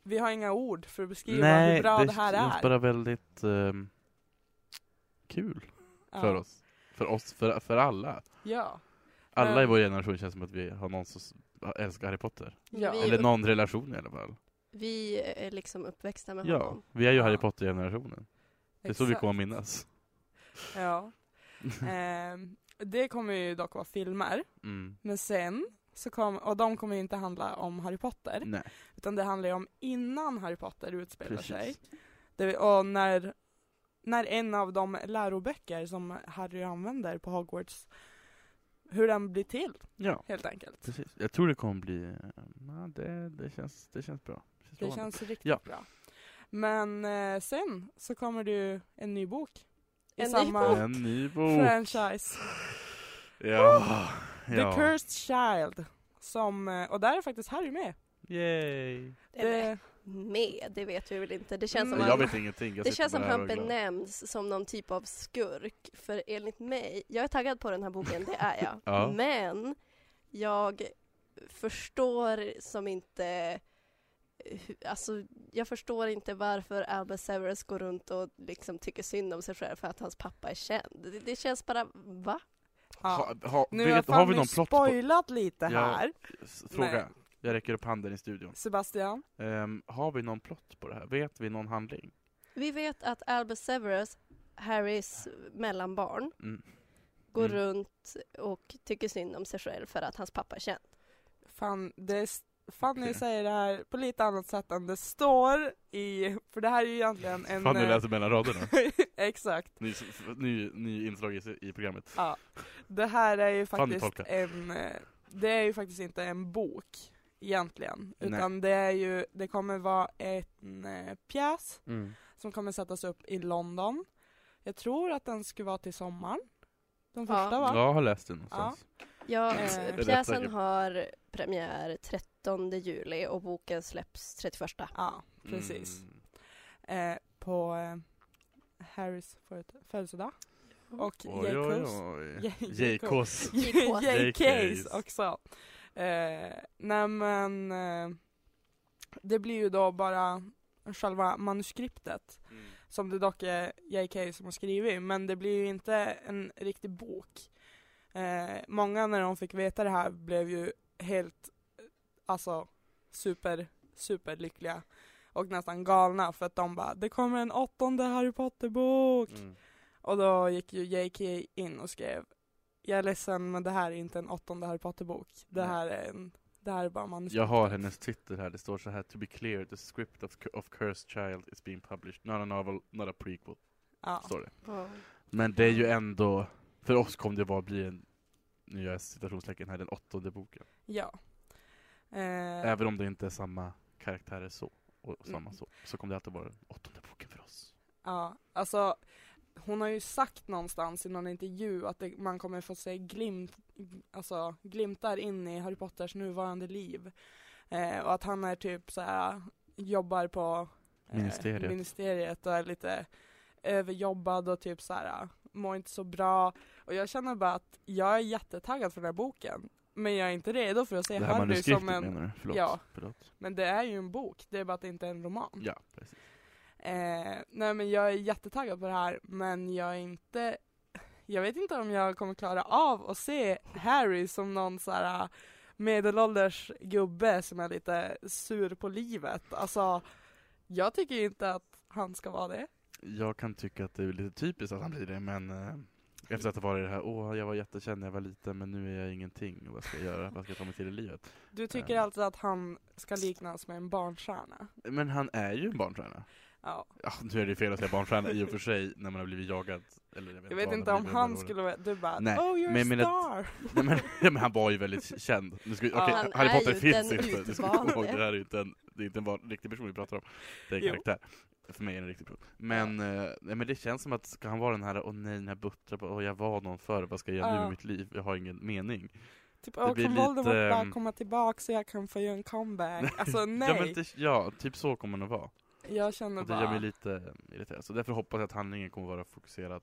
Speaker 2: vi har inga ord för att beskriva hur bra det, här
Speaker 3: känns
Speaker 2: är.
Speaker 3: bara väldigt ehm, kul
Speaker 2: ja.
Speaker 3: för oss. För oss, för, för alla.
Speaker 2: Ja.
Speaker 3: Alla i
Speaker 2: Men-
Speaker 3: vår generation känns som att vi har någon som s- älskar Harry Potter.
Speaker 2: Ja.
Speaker 4: Vi-
Speaker 3: Eller någon relation i alla fall.
Speaker 4: Vi är liksom uppväxta med
Speaker 3: Ja,
Speaker 4: honom.
Speaker 3: vi är ju
Speaker 2: Ja.
Speaker 3: Harry Potter-generationen. Det är så vi
Speaker 2: Exakt.
Speaker 3: kommer att minnas.
Speaker 2: Ja. Ehm, det kommer ju dock vara filmer,
Speaker 3: Mm.
Speaker 2: men sen så kom, och de kommer ju inte handla om Harry Potter,
Speaker 3: Nej,
Speaker 2: utan det handlar ju om innan Harry Potter utspelar sig.
Speaker 3: precis.
Speaker 2: Det, och när, när en av de läroböcker som Harry använder på Hogwarts, hur den blir till
Speaker 3: Ja,
Speaker 2: helt enkelt.
Speaker 3: precis. Jag tror det kommer bli... eh, Ja, det, det, känns, det känns bra. Det känns
Speaker 2: Det
Speaker 3: lovande.
Speaker 2: känns riktigt
Speaker 3: Ja.
Speaker 2: bra. Men eh, sen så kommer det ju en ny bok. I
Speaker 4: En ny
Speaker 2: samma
Speaker 4: bok.
Speaker 3: En ny bok!
Speaker 2: franchise.
Speaker 3: Ja.
Speaker 2: Oh, The Cursed Child. Som, eh, och där är faktiskt Harry med.
Speaker 3: Yay.
Speaker 4: Eller
Speaker 2: Det,
Speaker 4: med, det vet vi väl inte. Det känns som
Speaker 2: Mm.
Speaker 3: Jag
Speaker 4: han,
Speaker 3: vet ingenting. Jag
Speaker 4: det
Speaker 3: sitter
Speaker 4: känns som
Speaker 3: bara här
Speaker 4: han
Speaker 3: och är glad.
Speaker 4: benämns som någon typ av skurk. För enligt mig, jag är taggad på den här boken, det är jag.
Speaker 3: Ja.
Speaker 4: Men jag förstår som inte hu- Alltså, jag förstår inte varför Albert Severus går runt och liksom tycker synd om sig själv för att hans pappa är känd. Det, det känns bara, va?
Speaker 2: ja.
Speaker 3: Ha, ha,
Speaker 2: Nu
Speaker 3: vet,
Speaker 2: har
Speaker 3: har vi
Speaker 2: Fanny
Speaker 3: någon plott på...
Speaker 2: spoilat lite
Speaker 3: Ja.
Speaker 2: här.
Speaker 3: S- Fråga. Jag räcker upp handen i studion.
Speaker 2: Sebastian.
Speaker 3: Ehm, har vi någon plott på det här? Vet vi någon handling?
Speaker 4: Vi vet att Albert Severus, Harrys mellanbarn,
Speaker 3: Mm.
Speaker 4: går
Speaker 3: Mm.
Speaker 4: runt och tycker synd om sig själv för att hans pappa är känd.
Speaker 2: Fan, det är, s- Fanny
Speaker 3: Okej.
Speaker 2: säger det här på lite annat sätt än det står i, för det här är ju egentligen en...
Speaker 3: Fanny
Speaker 2: eh,
Speaker 3: läser mellan raderna.
Speaker 2: exakt.
Speaker 3: Ny, s- f- ny, ny inslag i, s- i programmet.
Speaker 2: Ja, det här är ju
Speaker 3: Fan, det
Speaker 2: faktiskt
Speaker 3: tolkar.
Speaker 2: en, eh, det är ju faktiskt inte en bok egentligen,
Speaker 3: Nej.
Speaker 2: utan det är ju, det kommer vara en eh, pjäs
Speaker 3: Mm.
Speaker 2: som kommer sättas upp i London. Jag tror att den skulle vara till sommaren, den
Speaker 4: Ja.
Speaker 2: första va?
Speaker 3: Jag har läst den någonstans.
Speaker 4: Ja,
Speaker 2: Eh,
Speaker 4: eh,
Speaker 2: det
Speaker 3: är
Speaker 4: pjäsen
Speaker 3: säkert.
Speaker 4: har premiär 13 juli och boken släpps 31.
Speaker 2: Ja, precis.
Speaker 3: Mm.
Speaker 2: Eh, på eh, Harrys föd- födelsedag. Och
Speaker 3: Oj, oj, oj.
Speaker 2: J.K.
Speaker 3: JKs.
Speaker 2: JKs
Speaker 3: JKs.
Speaker 2: också. Eh, nej men eh, det blir ju då bara själva manuskriptet
Speaker 3: Mm.
Speaker 2: som det dock är JK som har skrivit men det blir ju inte en riktig bok. Eh, många när de fick veta det här blev ju helt eh, alltså super super lyckliga och nästan galna för att de bara det kommer en åttonde Harry Potter bok.
Speaker 3: Mm.
Speaker 2: Och då gick ju JK in och skrev Jag är ledsen men det här är inte en åttonde Harry Potter-bok. Det
Speaker 3: Nej.
Speaker 2: här är en det här är bara manuskript.
Speaker 3: Jag har hennes Twitter här, det står så här To be clear, the script of, Cu- of Cursed Child is being published, not a novel, not a prequel,
Speaker 2: Ja.
Speaker 3: står det.
Speaker 4: Ja.
Speaker 3: Men det är ju ändå, för oss kommer det bara bli en, nu gör jag citationstecken här, den åttonde boken.
Speaker 2: ja. Eh,
Speaker 3: Även om det inte är samma karaktärer så, och och samma
Speaker 2: Mm.
Speaker 3: så, så kommer det alltid vara den åttonde boken för oss.
Speaker 2: ja. Alltså hon har ju sagt någonstans i någon intervju att det, man kommer få se glimt, alltså, glimtar in i Harry Potters nuvarande liv. Eh, och att han är typ så här jobbar på eh,
Speaker 3: Ministeriet.
Speaker 2: ministeriet och är lite överjobbad och typ så här mår inte så bra. Och jag känner bara att jag är jättetaggad för den här boken. Men jag är inte redo för att se
Speaker 3: det här
Speaker 2: Harry
Speaker 3: manuskriptet
Speaker 2: som en,
Speaker 3: menar du? Förlåt.
Speaker 2: Ja.
Speaker 3: Förlåt.
Speaker 2: men det är ju en bok, det är bara att det inte är en roman.
Speaker 3: ja precis.
Speaker 2: Eh, nej men jag är jättetaggad på det här men jag är inte Jag vet inte om jag kommer klara av att se Harry som någon så här ah, medelålders gubbe som är lite sur på livet. Alltså jag tycker ju inte att han ska vara det.
Speaker 3: Jag kan tycka att det är lite typiskt att han blir det, men eh, efter att ha varit det här, åh jag var jättekänd när jag var liten men nu är jag ingenting, vad ska jag göra, vad ska jag ta mig till i livet?
Speaker 2: Du tycker
Speaker 3: Eh.
Speaker 2: alltid att han ska liknas med en barnstjärna.
Speaker 3: Men han är ju en barnstjärna.
Speaker 2: Ja.
Speaker 3: Ja, nu är det ju fel att säga barnstjärna i och för sig när man har blivit jagad. Eller jag vet,
Speaker 2: Jag vet
Speaker 3: vad
Speaker 2: inte
Speaker 3: man
Speaker 2: om
Speaker 3: blir
Speaker 2: han
Speaker 3: under
Speaker 2: skulle vara... Du bara
Speaker 3: Nej,
Speaker 2: oh you're
Speaker 3: men jag
Speaker 2: a
Speaker 3: menar att-
Speaker 2: star!
Speaker 3: åren. Nej, men, nej, men han var ju väldigt känd. Nu ska vi,
Speaker 2: Ja,
Speaker 3: okej,
Speaker 4: han
Speaker 3: Harry
Speaker 4: är
Speaker 3: Potter
Speaker 4: ju
Speaker 3: finns
Speaker 4: den
Speaker 3: inte. Du ska komma ihåg,
Speaker 4: utvalde.
Speaker 3: det här är ju inte en, det är inte en van- riktig person vi pratar om. Det är en
Speaker 2: Jo.
Speaker 3: karaktär. För mig är det en riktig person. Men, eh, nej, men det känns som att ska han vara den här, åh nej, den här buttra, bara, åh jag var någon förr, vad ska jag göra nu
Speaker 2: Ja.
Speaker 3: med mitt liv? Jag har ingen mening.
Speaker 2: Typ, åh
Speaker 3: blir
Speaker 2: kan Voldemort
Speaker 3: lite,
Speaker 2: bara
Speaker 3: ehm, komma
Speaker 2: komma tillbaka så jag kan få göra en comeback? Alltså nej!
Speaker 3: Ja, men det, ja, typ så kommer han att vara.
Speaker 2: Jag känner
Speaker 3: Och det gör mig
Speaker 2: bara...
Speaker 3: lite irriterad. Så därför hoppas jag att handlingen kommer vara fokuserad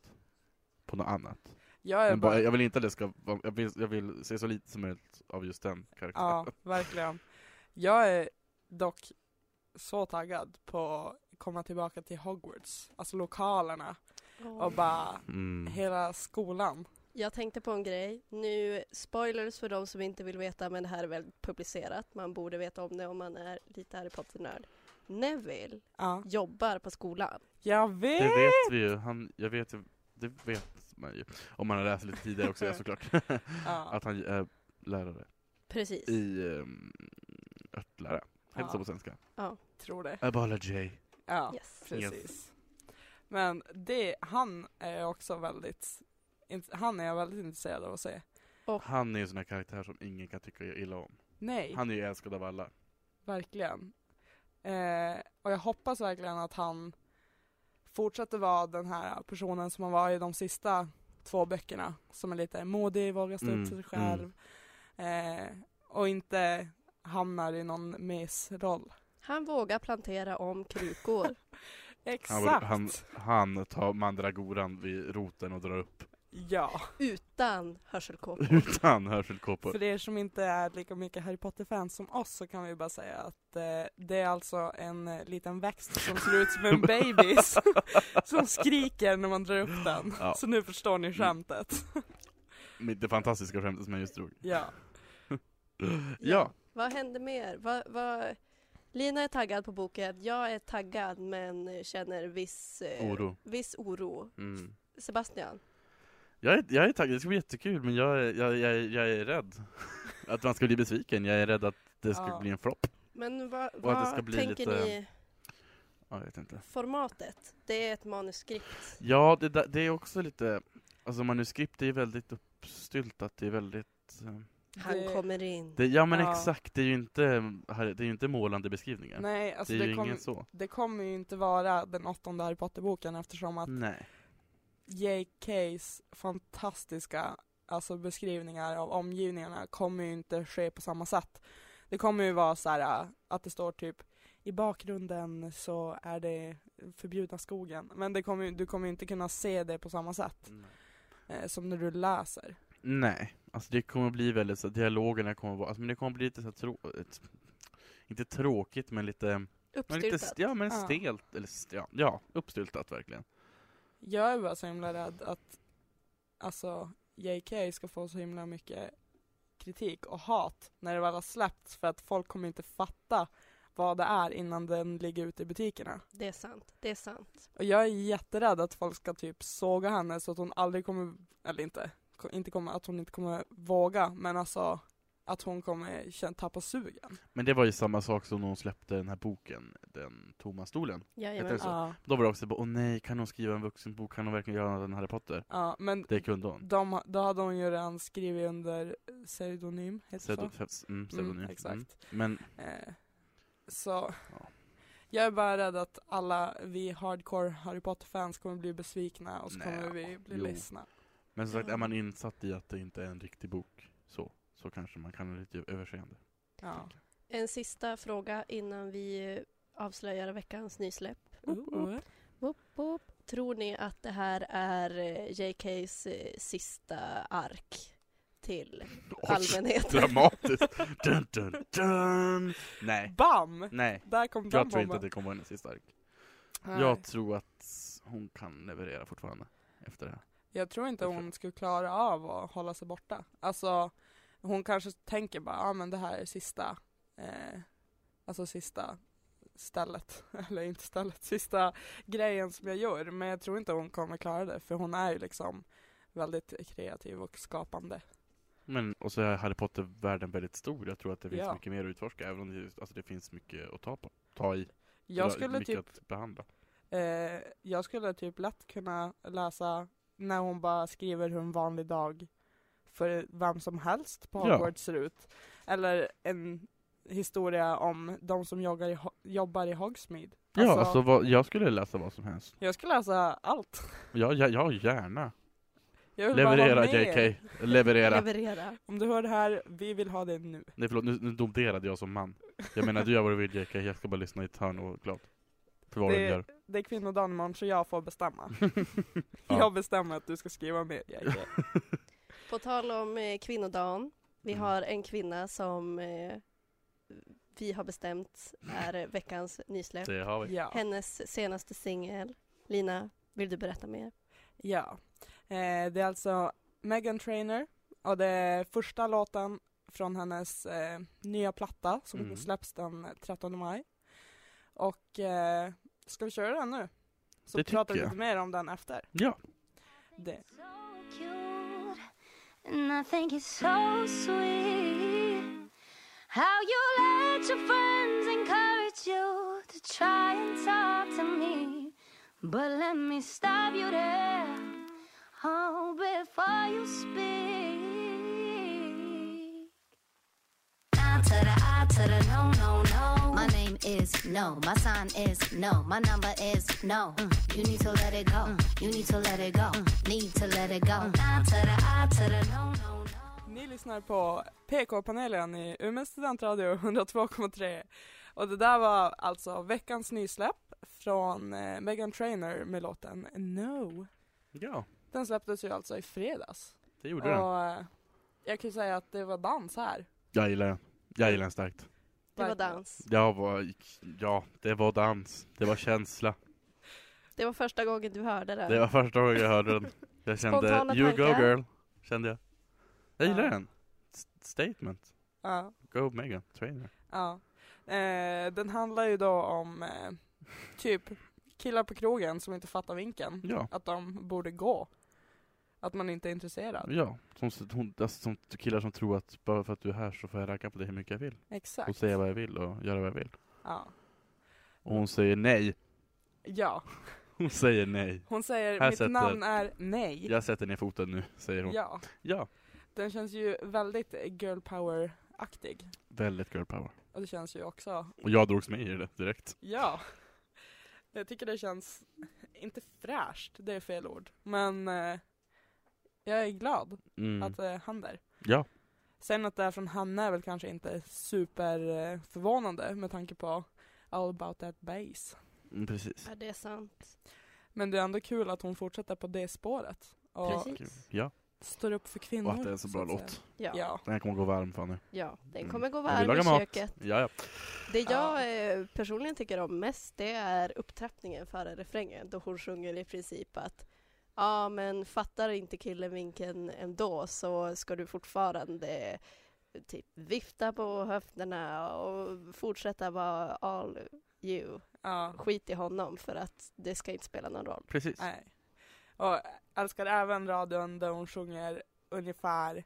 Speaker 3: på något annat.
Speaker 2: Jag är
Speaker 3: Men bara,
Speaker 2: bara...
Speaker 3: jag vill inte att det ska vara, jag vill, jag vill se så lite som möjligt av just den karaktären.
Speaker 2: Ja, verkligen. Jag är dock så taggad på att komma tillbaka till Hogwarts. Alltså lokalerna och bara
Speaker 3: Mm.
Speaker 2: hela skolan.
Speaker 4: Jag tänkte på en grej. Nu, spoilers för de som inte vill veta, men det här är väl publicerat. Man borde veta om det om man är lite Harry Potter-nörd. Neville
Speaker 2: Ja,
Speaker 4: jobbar på skolan.
Speaker 2: jag
Speaker 3: Det
Speaker 2: vet!
Speaker 3: vet vi ju, han, jag vet ju, det vet man ju. Om man har läst lite tidigare också ja, såklart.
Speaker 2: Ja.
Speaker 3: att han är lärare
Speaker 4: Precis.
Speaker 3: i um, örtlära. Hälsa
Speaker 2: Ja.
Speaker 3: på svenska.
Speaker 2: Tror det.
Speaker 3: Abology.
Speaker 2: Ja,
Speaker 4: Yes.
Speaker 2: precis. Men det, han är också väldigt, int- han är jag väldigt intresserad av att se.
Speaker 3: Han är ju en sån här karaktär som ingen kan tycka illa om.
Speaker 2: Nej,
Speaker 3: Han är ju älskad av alla.
Speaker 2: verkligen. Eh, och jag hoppas verkligen att han fortsätter vara den här personen som han var i de sista två böckerna. Som är lite modig, vågar stå
Speaker 3: Mm,
Speaker 2: upp för sig själv. Eh, och inte hamnar i någon mesroll.
Speaker 4: Han vågar plantera om krukor.
Speaker 3: Han,
Speaker 2: Exakt!
Speaker 3: han, han tar mandragoran vid roten och drar upp
Speaker 2: Ja,
Speaker 4: utan hörselkåpor.
Speaker 3: utan hörselkåpor.
Speaker 2: för er som inte är lika mycket Harry Potter-fans som oss så kan vi bara säga att eh, det är alltså en eh, liten växt som ser ut som en babys som skriker när man drar upp den.
Speaker 3: Ja.
Speaker 2: Så nu förstår ni skämtet.
Speaker 3: Mitt- Det fantastiska skämtet som jag just drog.
Speaker 2: Ja.
Speaker 3: Ja,
Speaker 4: Vad händer mer? Vad, vad... Lina är taggad på boken. Jag är taggad men känner viss, eh,
Speaker 3: oro.
Speaker 4: viss oro.
Speaker 3: Mm.
Speaker 4: Sebastian,
Speaker 3: Jag är, jag är taggad, det ska bli jättekul men jag, är- jag, jag, är- jag är rädd att man ska bli besviken. Jag är rädd att det ska
Speaker 2: Ja.
Speaker 3: bli en flopp.
Speaker 4: men vad,
Speaker 3: det
Speaker 4: vad
Speaker 3: ska bli
Speaker 4: tänker
Speaker 3: lite-
Speaker 4: ni
Speaker 3: Ja, jag vet inte.
Speaker 4: formatet? Det är ett manuskript.
Speaker 3: Ja, det, där- det är också lite, alltså manuskript är ju väldigt uppstyltat, det är väldigt... eh,
Speaker 4: Han
Speaker 2: Det-
Speaker 4: kommer in.
Speaker 3: Det, ja men
Speaker 2: Ja.
Speaker 3: exakt, det är ju inte, det är ju inte målande beskrivningar.
Speaker 2: Nej, alltså
Speaker 3: det är
Speaker 2: det,
Speaker 3: ju
Speaker 2: kom,
Speaker 3: ingen så.
Speaker 2: det kommer ju inte vara den åttonde Harry Potter-boken eftersom att
Speaker 3: Nej.
Speaker 2: J.K.s fantastiska alltså, beskrivningar av omgivningarna kommer ju inte ske på samma sätt. Det kommer ju vara så här äh, att det står typ i bakgrunden så är det förbjudna skogen. Men det kommer, ju- du kommer ju inte kunna se det på samma sätt eh, som när du läser.
Speaker 3: Nej, alltså det kommer bli väldigt så, dialogerna kommer vara, alltså, men det kommer bli lite så här trå, ett, inte tråkigt men lite, men lite
Speaker 4: Uppstyltat.
Speaker 3: ja men
Speaker 2: Ja.
Speaker 3: stelt, eller st- ja, ja, uppstyltat verkligen.
Speaker 2: Jag är bara så himla rädd att alltså JK ska få så himla mycket kritik och hat när det väl har släppts för att folk kommer inte fatta vad det är innan den ligger ute i butikerna.
Speaker 4: Det är sant. Det är sant.
Speaker 2: Och jag är jätterädd att folk ska typ såga henne så att hon aldrig kommer, eller inte, ko- inte kommer, att hon inte kommer våga, men alltså att hon kommer kän- tappa sugen.
Speaker 3: Men det var ju samma sak som när hon släppte den här boken, den tomma stolen.
Speaker 4: Jajamän.
Speaker 3: Heter Så. det
Speaker 2: Ja,
Speaker 3: Då var det också bara, åh nej, kan hon skriva en vuxenbok? Kan hon verkligen göra något än Harry Potter?
Speaker 2: ja, men
Speaker 3: Det kunde hon.
Speaker 2: de, ha- då hade hon ju redan skrivit under pseudonym, heter det så?
Speaker 3: Pseudo, pseudo, mm, pseudonym.
Speaker 2: Mm, exakt.
Speaker 3: Mm. Men
Speaker 2: Eh, så
Speaker 3: Ja.
Speaker 2: jag är bara rädd att alla vi hardcore Harry Potter-fans kommer bli besvikna och så
Speaker 3: Nä,
Speaker 2: kommer vi bli
Speaker 3: jo.
Speaker 2: ledsna.
Speaker 3: Men som sagt,
Speaker 4: Ja.
Speaker 3: är man insatt i att det inte är en riktig bok så, så kanske man kan ha lite överseende.
Speaker 2: Ja.
Speaker 4: En sista fråga innan vi eh, avslöjar veckans nysläpp.
Speaker 2: Uh, uh.
Speaker 4: Woop, woop. Tror ni att det här är eh, JKs eh, sista ark till allmänheten?
Speaker 3: Dramatiskt! dun, dun, dun. Nej,
Speaker 2: Bam!
Speaker 3: nej.
Speaker 2: Där kom den
Speaker 3: Jag tror inte att
Speaker 2: bomben.
Speaker 3: det kommer vara hennes sista ark.
Speaker 2: Nej.
Speaker 3: Jag tror att hon kan leverera fortfarande efter det här.
Speaker 2: jag tror inte
Speaker 3: Jag tror-
Speaker 2: hon skulle klara av att hålla sig borta. Alltså, hon kanske tänker bara, ja ah, men det här är sista, eh, alltså sista stället, eller inte stället, sista grejen som jag gör. Men jag tror inte hon kommer klara det, för hon är ju liksom väldigt kreativ och skapande.
Speaker 3: Men, och så är Harry Potter-världen väldigt stor. Jag tror att det finns
Speaker 2: Ja.
Speaker 3: mycket mer att utforska, även om det, alltså, det finns mycket att ta, på, ta i.
Speaker 2: Jag
Speaker 3: Eller
Speaker 2: skulle,
Speaker 3: mycket
Speaker 2: typ,
Speaker 3: att behandla.
Speaker 2: Eh, jag skulle typ lätt kunna läsa när hon bara skriver hur en vanlig dag för vem som helst på
Speaker 3: Ja.
Speaker 2: Hogwarts ser ut. Eller en historia om de som joggar i, Ho- jobbar i Hogsmeade.
Speaker 3: Ja, alltså vad, jag skulle läsa vad som helst.
Speaker 2: Jag skulle läsa allt.
Speaker 3: Ja, ja, ja gärna.
Speaker 2: Jag vill bara vara
Speaker 3: Leverera
Speaker 2: med.
Speaker 3: JK. Leverera.
Speaker 4: Leverera.
Speaker 2: Om du hör det här, vi vill ha det nu.
Speaker 3: Nej förlåt, nu, nu domderade jag som man. Jag menar du gör vad du vill JK, jag ska bara lyssna i ett hörn och vara glad. För vad du
Speaker 2: Det,
Speaker 3: gör.
Speaker 2: det är kvinnodagen imorgon så jag får bestämma.
Speaker 3: Ja.
Speaker 2: Jag bestämmer att du ska skriva med JK.
Speaker 4: På tal om eh, kvinnodagen, vi
Speaker 3: Mm.
Speaker 4: har en kvinna som eh, vi har bestämt är veckans nysläpp.
Speaker 3: Det har vi.
Speaker 2: Ja.
Speaker 4: Hennes senaste singel. Lina, vill du berätta mer?
Speaker 2: Ja. Eh, det är alltså Megan Trainor och det är första låten från hennes eh, nya platta som
Speaker 3: Mm.
Speaker 2: släpps den 13 maj. Och eh, ska vi köra den nu? Så
Speaker 3: Det tycker
Speaker 2: pratar vi
Speaker 3: jag.
Speaker 2: lite mer om den efter.
Speaker 3: Ja.
Speaker 2: Det.
Speaker 6: So cute, and I think it's so sweet how you let your friends encourage you to try and talk to me. But let me stop you there, oh, before you speak. I to the I to the no, no, no. My name is no. My sign is no. My number is no. Mm. You need to let it go. Mm. You need to let it go. Mm. Need to let it go. Mm. I to the I to the no, no, no.
Speaker 2: Ni lyssnar på PK-panelen i Umeå studentradio 102,3 och det där var alltså veckans nysläpp från eh, Megan Trainor med låten No.
Speaker 3: Ja,
Speaker 2: Den släpptes ju alltså i fredags.
Speaker 3: det gjorde den.
Speaker 2: Och eh, jag kan ju säga att det var dans här.
Speaker 3: Jag gillar den. Jag gillar den starkt.
Speaker 4: Det var
Speaker 2: Verkligen.
Speaker 4: dans.
Speaker 3: Jag var, ja, det var dans. Det var känsla.
Speaker 4: Det var första gången du hörde det.
Speaker 3: Det var första gången jag hörde den. Jag kände,
Speaker 4: Spontana
Speaker 3: you
Speaker 4: tankar."
Speaker 3: go girl. Kände jag. Jag gillar
Speaker 2: Ja.
Speaker 3: den. S- Statement.
Speaker 2: Ja,
Speaker 3: Go Megan. Trainer.
Speaker 2: ja. Eh, den handlar ju då om eh, typ killar på krogen som inte fattar vinken.
Speaker 3: Ja.
Speaker 2: Att de borde gå. Att man inte är intresserad.
Speaker 3: Ja, som, hon, alltså, som killar som tror att bara för att du är här så får jag ragga på dig hur mycket jag vill. Och
Speaker 2: Exakt.
Speaker 3: säga vad jag vill och göra vad jag vill.
Speaker 2: Ja.
Speaker 3: Och hon säger nej.
Speaker 2: ja.
Speaker 3: Hon säger nej.
Speaker 2: Hon säger
Speaker 3: Här
Speaker 2: mitt
Speaker 3: sätter-
Speaker 2: namn är nej.
Speaker 3: Jag sätter ner foten nu, säger hon. Ja.
Speaker 2: Ja. Den känns ju väldigt eh, girl power-aktig.
Speaker 3: Väldigt girl power.
Speaker 2: Och det känns ju också,
Speaker 3: Och jag drogs med i det direkt.
Speaker 2: ja. Jag tycker det känns, inte fräscht, det är fel ord. Men eh, jag är glad
Speaker 3: Mm.
Speaker 2: att det händer.
Speaker 3: Ja.
Speaker 2: Sen att det är från Hanna är väl kanske inte super eh, förvånande med tanke på All about that bass.
Speaker 3: Mm, precis.
Speaker 4: Ja, det är sant.
Speaker 2: Men det är ändå kul att hon fortsätter på det spåret och
Speaker 4: Precis.
Speaker 3: Kul. Ja.
Speaker 2: står upp för kvinnor.
Speaker 3: Och att det är en så bra
Speaker 2: att säga.
Speaker 3: låt.
Speaker 4: Ja, ja.
Speaker 2: Ja.
Speaker 3: Den här kommer gå varm Fanny.
Speaker 4: den
Speaker 3: Mm.
Speaker 4: kommer gå
Speaker 3: Och vi
Speaker 4: varm i
Speaker 3: lagar mat.
Speaker 4: köket.
Speaker 3: Ja, ja.
Speaker 4: Det jag
Speaker 2: Ja.
Speaker 4: eh, personligen tycker om mest det är upptrappningen före refrängen då hon sjunger i princip att ja men fattar inte killen vinken ändå så ska du fortfarande typ vifta på höfterna och fortsätta vara all you.
Speaker 2: Ja.
Speaker 4: Skit i honom för att det ska inte spela någon roll.
Speaker 3: Precis.
Speaker 2: Nej. Och älskar även radion där hon sjunger ungefär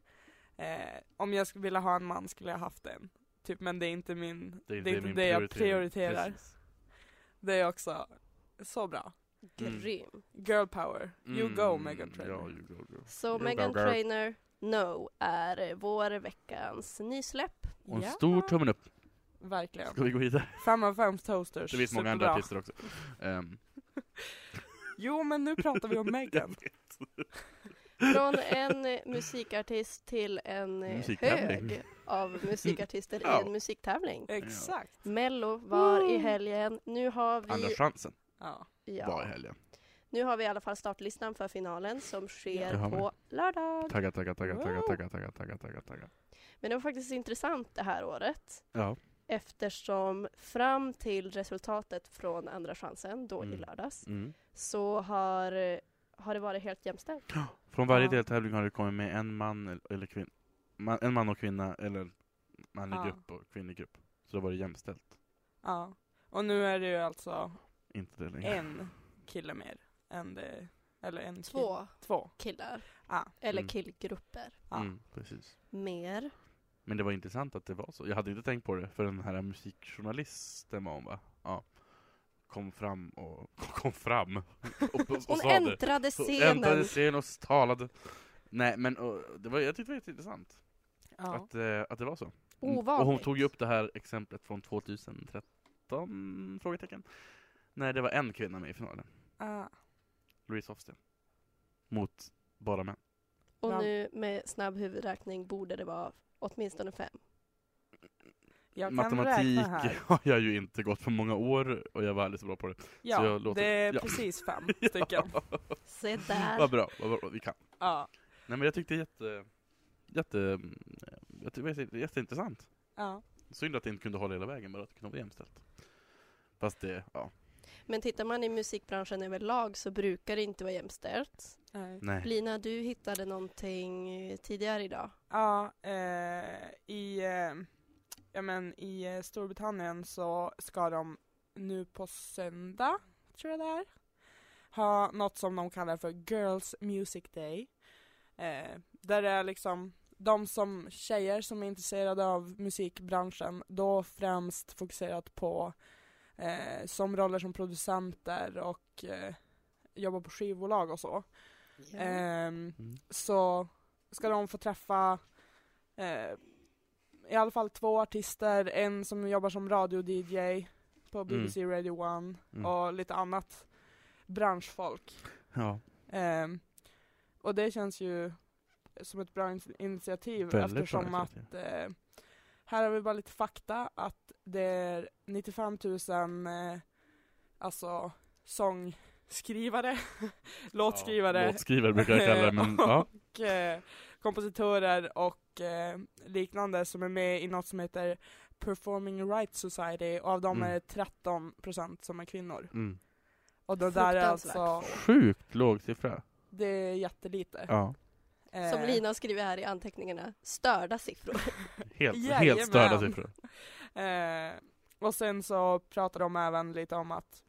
Speaker 2: eh, om jag skulle vilja ha en man skulle jag haft en. Typ, men det är inte min, det är inte det,
Speaker 3: min
Speaker 2: jag
Speaker 3: prioritering.
Speaker 2: prioriterar.
Speaker 3: Precis.
Speaker 2: Det är också så bra.
Speaker 3: Mm.
Speaker 4: Grym.
Speaker 2: Girl power. You
Speaker 3: Mm,
Speaker 2: go Megan Trainor.
Speaker 3: Ja, you go, girl.
Speaker 4: Så
Speaker 3: Jo,
Speaker 4: Megan
Speaker 3: go, girl.
Speaker 4: Trainer No är eh, vår veckans nysläpp.
Speaker 3: Och en
Speaker 2: Ja,
Speaker 3: stor tummen upp. Ska
Speaker 2: Verkligen.
Speaker 3: vi gå vidare?
Speaker 2: Fem av fem toasters.
Speaker 3: Det finns många andra
Speaker 2: Superbra.
Speaker 3: artister också. Ehm,
Speaker 2: Jo, men nu pratar vi om Megan.
Speaker 4: Från en eh, musikartist till en eh,
Speaker 3: Musiktävling.
Speaker 4: hög av musikartister
Speaker 3: Ja.
Speaker 4: i en musiktävling.
Speaker 2: Exakt.
Speaker 4: Mello var i helgen. Nu har
Speaker 3: Andra
Speaker 4: vi,
Speaker 3: chansen
Speaker 2: Ja.
Speaker 3: var i
Speaker 4: ja,
Speaker 3: helgen.
Speaker 4: nu har vi i alla fall startlistan för finalen som sker
Speaker 3: Det har vi.
Speaker 4: på lördag.
Speaker 3: Tagga, tagga, tagga, tagga,
Speaker 2: Wow.
Speaker 3: tagga, tagga, tagga, tagga, tagga.
Speaker 4: Men det var faktiskt intressant det här året
Speaker 3: Ja.
Speaker 4: eftersom fram till resultatet från Andra chansen, då i
Speaker 3: Mm.
Speaker 4: lördags,
Speaker 3: Mm.
Speaker 4: så har, eh, har det varit helt jämställt.
Speaker 3: Från varje
Speaker 2: Ja.
Speaker 3: deltävling har det kommit med en man el- eller kvinna. Man, en man och kvinna, eller manlig
Speaker 2: Ja.
Speaker 3: grupp och kvinnlig grupp. Så då var det jämställt.
Speaker 2: ja. Och nu är det ju alltså
Speaker 3: Inte det längre.
Speaker 2: en kille mer än det, eller en kille-
Speaker 4: Två
Speaker 2: Två. Ah.
Speaker 4: killar,
Speaker 2: Ja.
Speaker 4: eller
Speaker 3: Mm.
Speaker 4: killgrupper.
Speaker 2: Ja.
Speaker 3: Mm, precis.
Speaker 4: Mer.
Speaker 3: Men det var intressant att det var så. Jag hade inte tänkt på det för den här musikjournalisten var hon va? Ja. kom fram och kom fram och, och, och
Speaker 4: Hon
Speaker 3: sa det.
Speaker 4: äntrade
Speaker 3: Så
Speaker 4: scenen.
Speaker 3: äntrade scenen och talade. Nej men och, det var, jag tyckte det var intressant
Speaker 2: Ja.
Speaker 3: att, eh, att det var så. Mm,
Speaker 4: Ovanligt.
Speaker 3: Och hon tog ju upp det här exemplet från 2013? Frågetecken. Nej, det var en kvinna med i finalen.
Speaker 2: Ah.
Speaker 3: Louise Hofsten. Mot bara män.
Speaker 4: Och
Speaker 2: Ja.
Speaker 4: nu med snabb huvudräkning borde det vara åtminstone fem.
Speaker 2: Jag kan
Speaker 3: Matematik
Speaker 2: räkna här.
Speaker 3: har jag ju inte gått på många år och jag var alldeles bra på det.
Speaker 2: Ja,
Speaker 3: jag låter-
Speaker 2: det är
Speaker 3: ja.
Speaker 2: precis fem stycken.
Speaker 4: Se
Speaker 3: Vad
Speaker 4: där.
Speaker 3: bra, vad bra, vi kan.
Speaker 2: Ja.
Speaker 3: Nej men jag tyckte jätte... Jätte... Jag tyckte det var jätteintressant.
Speaker 2: Ja.
Speaker 3: Synd att det inte kunde hålla hela vägen, bara att det kunde vara jämställt. Fast det, ja.
Speaker 4: Men tittar man i musikbranschen överlag så brukar det inte vara jämställt.
Speaker 2: Nej.
Speaker 3: Nej.
Speaker 4: Lina, du hittade någonting eh, tidigare idag.
Speaker 2: Ja, eh, i, eh, ja, men i eh, Storbritannien så ska de nu på söndag, tror jag det är, ha något som de kallar för Girls Music Day. Eh, där det är liksom de som tjejer som är intresserade av musikbranschen, då främst fokuserat på eh, som roller som producenter och eh, jobbar på skivbolag och så. Ehm,
Speaker 3: Mm.
Speaker 2: så ska de få träffa eh, i alla fall två artister, en som jobbar som radio-DJ på BBC Radio 1
Speaker 3: Mm.
Speaker 2: och lite annat branschfolk.
Speaker 3: Ja.
Speaker 2: Ehm, och det känns ju som ett bra in- initiativ
Speaker 3: Väldigt bra
Speaker 2: eftersom att
Speaker 3: initiativ.
Speaker 2: eh, här har vi bara lite fakta att det är 95 000 eh, alltså sångskrivare, låtskrivare
Speaker 3: Ja, låtskrivare brukar jag kalla det, men ja.
Speaker 2: och eh, kompositörer och eh, liknande som är med i något som heter Performing Rights Society och av dem
Speaker 3: Mm.
Speaker 2: är det 13% som är kvinnor.
Speaker 3: Mm.
Speaker 2: Och det där är
Speaker 4: Fruktansvärt.
Speaker 2: alltså,
Speaker 3: Sjukt låg siffra.
Speaker 2: det är jättelite.
Speaker 3: Ja.
Speaker 2: Eh,
Speaker 4: Som Lina har skrivit här i anteckningarna, störda siffror.
Speaker 3: Helt,
Speaker 2: Jajamän.
Speaker 3: helt störda siffror.
Speaker 2: Eh, och sen så pratar de även lite om att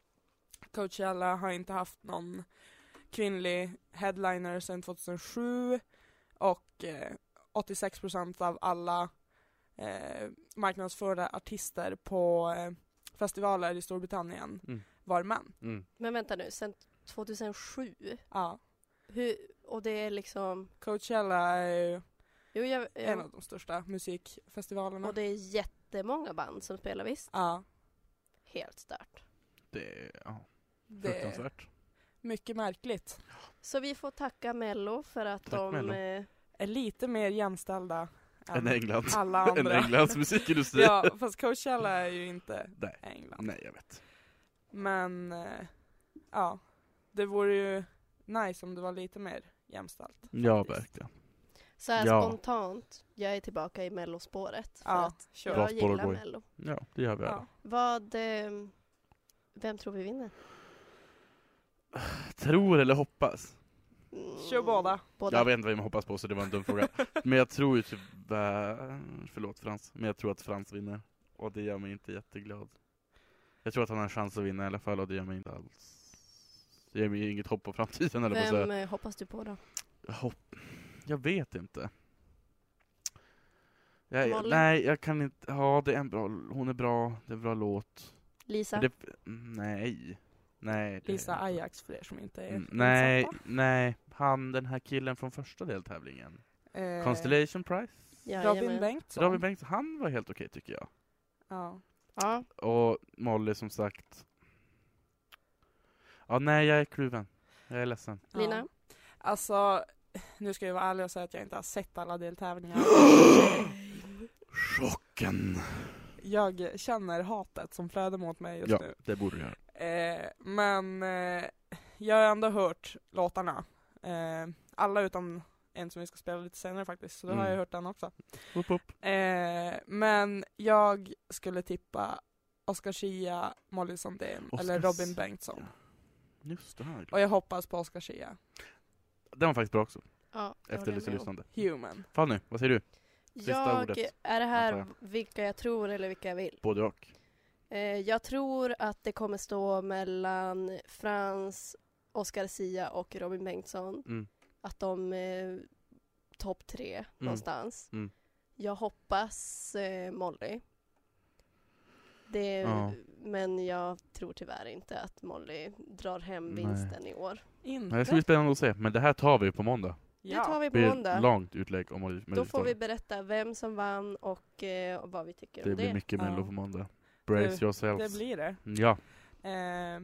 Speaker 2: Coachella har inte haft någon kvinnlig headliner sedan 2007 och eh, 86% av alla eh, marknadsförda artister på eh, festivaler i Storbritannien
Speaker 3: Mm.
Speaker 2: var män.
Speaker 3: Mm.
Speaker 4: Men vänta nu, sen 2007?
Speaker 2: Ja.
Speaker 4: Hur, och det är liksom...
Speaker 2: Coachella är ju
Speaker 4: Jo, jag,
Speaker 2: en
Speaker 4: jag,
Speaker 2: av de största musikfestivalerna.
Speaker 4: och det är jättemånga band som spelar visst?
Speaker 2: ja,
Speaker 4: Helt stört.
Speaker 3: Det är ja,
Speaker 2: det är
Speaker 3: fruktansvärt.
Speaker 2: mycket märkligt.
Speaker 4: Så vi får tacka Mello för att
Speaker 3: Tack,
Speaker 4: de...
Speaker 3: Mello.
Speaker 4: eh,
Speaker 2: Är lite mer jämställda
Speaker 3: En
Speaker 2: än
Speaker 3: England.
Speaker 2: alla
Speaker 3: En
Speaker 2: andra.
Speaker 3: Englands musikindustri.
Speaker 2: Ja, fast Coachella är ju inte
Speaker 3: Nej.
Speaker 2: England.
Speaker 3: Nej, jag vet.
Speaker 2: Men eh, ja, det vore ju nice om det var lite mer jämställt.
Speaker 3: Ja,
Speaker 2: faktiskt.
Speaker 3: verkligen.
Speaker 4: Så här
Speaker 3: Ja.
Speaker 4: spontant, jag är tillbaka i mellospåret. För
Speaker 2: Ja,
Speaker 4: att
Speaker 2: kör.
Speaker 4: jag
Speaker 3: Bra spår att
Speaker 4: gillar
Speaker 3: gå i.
Speaker 4: mello.
Speaker 3: Ja, det gör vi alla.
Speaker 2: Ja.
Speaker 4: Vad, ehm, vem tror vi vinner?
Speaker 3: Tror eller hoppas?
Speaker 4: Mm,
Speaker 2: Kör båda.
Speaker 4: båda.
Speaker 3: Jag vet inte vad man hoppas på, så det var en dum fråga. Men jag tror ju tyvärr, förlåt Frans, men jag tror att Frans vinner. Och det gör mig inte jätteglad. Jag tror att han har en chans att vinna i alla fall, och det gör mig inte alls... Det ger mig inget hopp på framtiden, eller på att
Speaker 4: Vem
Speaker 3: säga.
Speaker 4: eh, hoppas du på då?
Speaker 3: Hopp? Jag vet inte. Jag, jag,
Speaker 4: Molly?
Speaker 3: nej, jag kan inte... Ja, det är en bra... Hon är bra, det är en bra låt. Men
Speaker 4: Lisa?
Speaker 3: Det, nej. Nej. det-
Speaker 2: Lisa Ajax för er som inte är
Speaker 3: Mm, Nej,
Speaker 2: insatta.
Speaker 3: nej. Han, den här killen från första deltävlingen.
Speaker 2: Eh,
Speaker 3: Constellation Prize.
Speaker 2: Robin
Speaker 4: Jajamän.
Speaker 2: Bengtsson.
Speaker 3: Robin Bengtsson, han var helt okej tycker jag.
Speaker 2: Ja.
Speaker 4: Ja,
Speaker 3: Och Molly som sagt. Ja, nej, jag är kluven. Jag är ledsen.
Speaker 4: Lina?
Speaker 2: Ja. Alltså, nu ska jag vara ärlig och säga att jag inte har sett alla deltävlingar.
Speaker 3: Chocken!
Speaker 2: Jag känner hatet som flödar mot mig just
Speaker 3: Ja,
Speaker 2: nu.
Speaker 3: det borde du göra.
Speaker 2: Eh, men eh, jag har ändå hört låtarna. Eh, alla utom en som vi ska spela lite senare faktiskt, så då har
Speaker 3: Mm.
Speaker 2: jag hört den också.
Speaker 3: Upp, upp.
Speaker 2: Eh, men jag skulle tippa Oscar Schia, Molly Sandén
Speaker 3: Oscar
Speaker 2: eller Robin
Speaker 3: Schia.
Speaker 2: Bengtsson.
Speaker 3: Just det här.
Speaker 2: Och jag hoppas på Oscar Schia,
Speaker 3: Den var faktiskt bra också,
Speaker 4: ja det
Speaker 3: efter
Speaker 4: håller jag
Speaker 3: lite
Speaker 4: med om.
Speaker 3: lyssnande.
Speaker 2: Human.
Speaker 3: Fanny, vad säger du? Sista
Speaker 4: jag,
Speaker 3: ordet,
Speaker 4: Är det här
Speaker 3: antar
Speaker 4: vilka jag tror eller vilka jag vill?
Speaker 3: Både och.
Speaker 4: Eh, jag tror att det kommer stå mellan Frans, Oscar Sia och Robin Bengtsson.
Speaker 3: Mm.
Speaker 4: Att de eh, topp tre någonstans.
Speaker 3: Mm.
Speaker 4: Jag hoppas eh, Molly. Det,
Speaker 3: Ja.
Speaker 4: Men jag tror tyvärr inte att Molly drar hem
Speaker 3: Nej.
Speaker 4: vinsten i år.
Speaker 2: Inte?
Speaker 3: Nej, det ska bli spännande att se, men det här tar vi på måndag.
Speaker 4: Det tar
Speaker 2: ja.
Speaker 4: vi
Speaker 3: Det
Speaker 4: på
Speaker 3: blir
Speaker 4: måndag.
Speaker 3: ett långt utlägg om Melodifestivalen.
Speaker 4: Då får vi berätta vem som vann och, eh, och vad vi tycker
Speaker 3: Det
Speaker 4: om
Speaker 3: blir
Speaker 4: det.
Speaker 3: mycket
Speaker 2: Ja.
Speaker 3: Mello på måndag. Brace
Speaker 2: Det
Speaker 3: yourselves.
Speaker 2: blir det.
Speaker 3: Ja.
Speaker 2: Eh,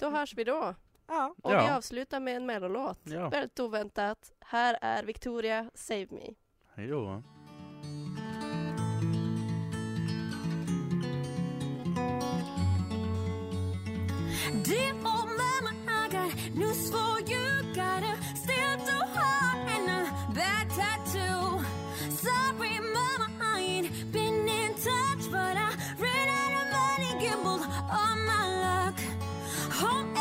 Speaker 4: Då hörs vi då.
Speaker 2: ja.
Speaker 4: Och
Speaker 3: Ja.
Speaker 4: vi avslutar med en mellolåt.
Speaker 3: Ja.
Speaker 4: Väldigt oväntat. Här är Victoria, Save Me.
Speaker 3: Hej då.
Speaker 6: Dear old mama, I got news for you. Got a still too hard and a bad tattoo. Sorry, mama, I ain't been in touch, but I ran out of money, gambled all my luck. Home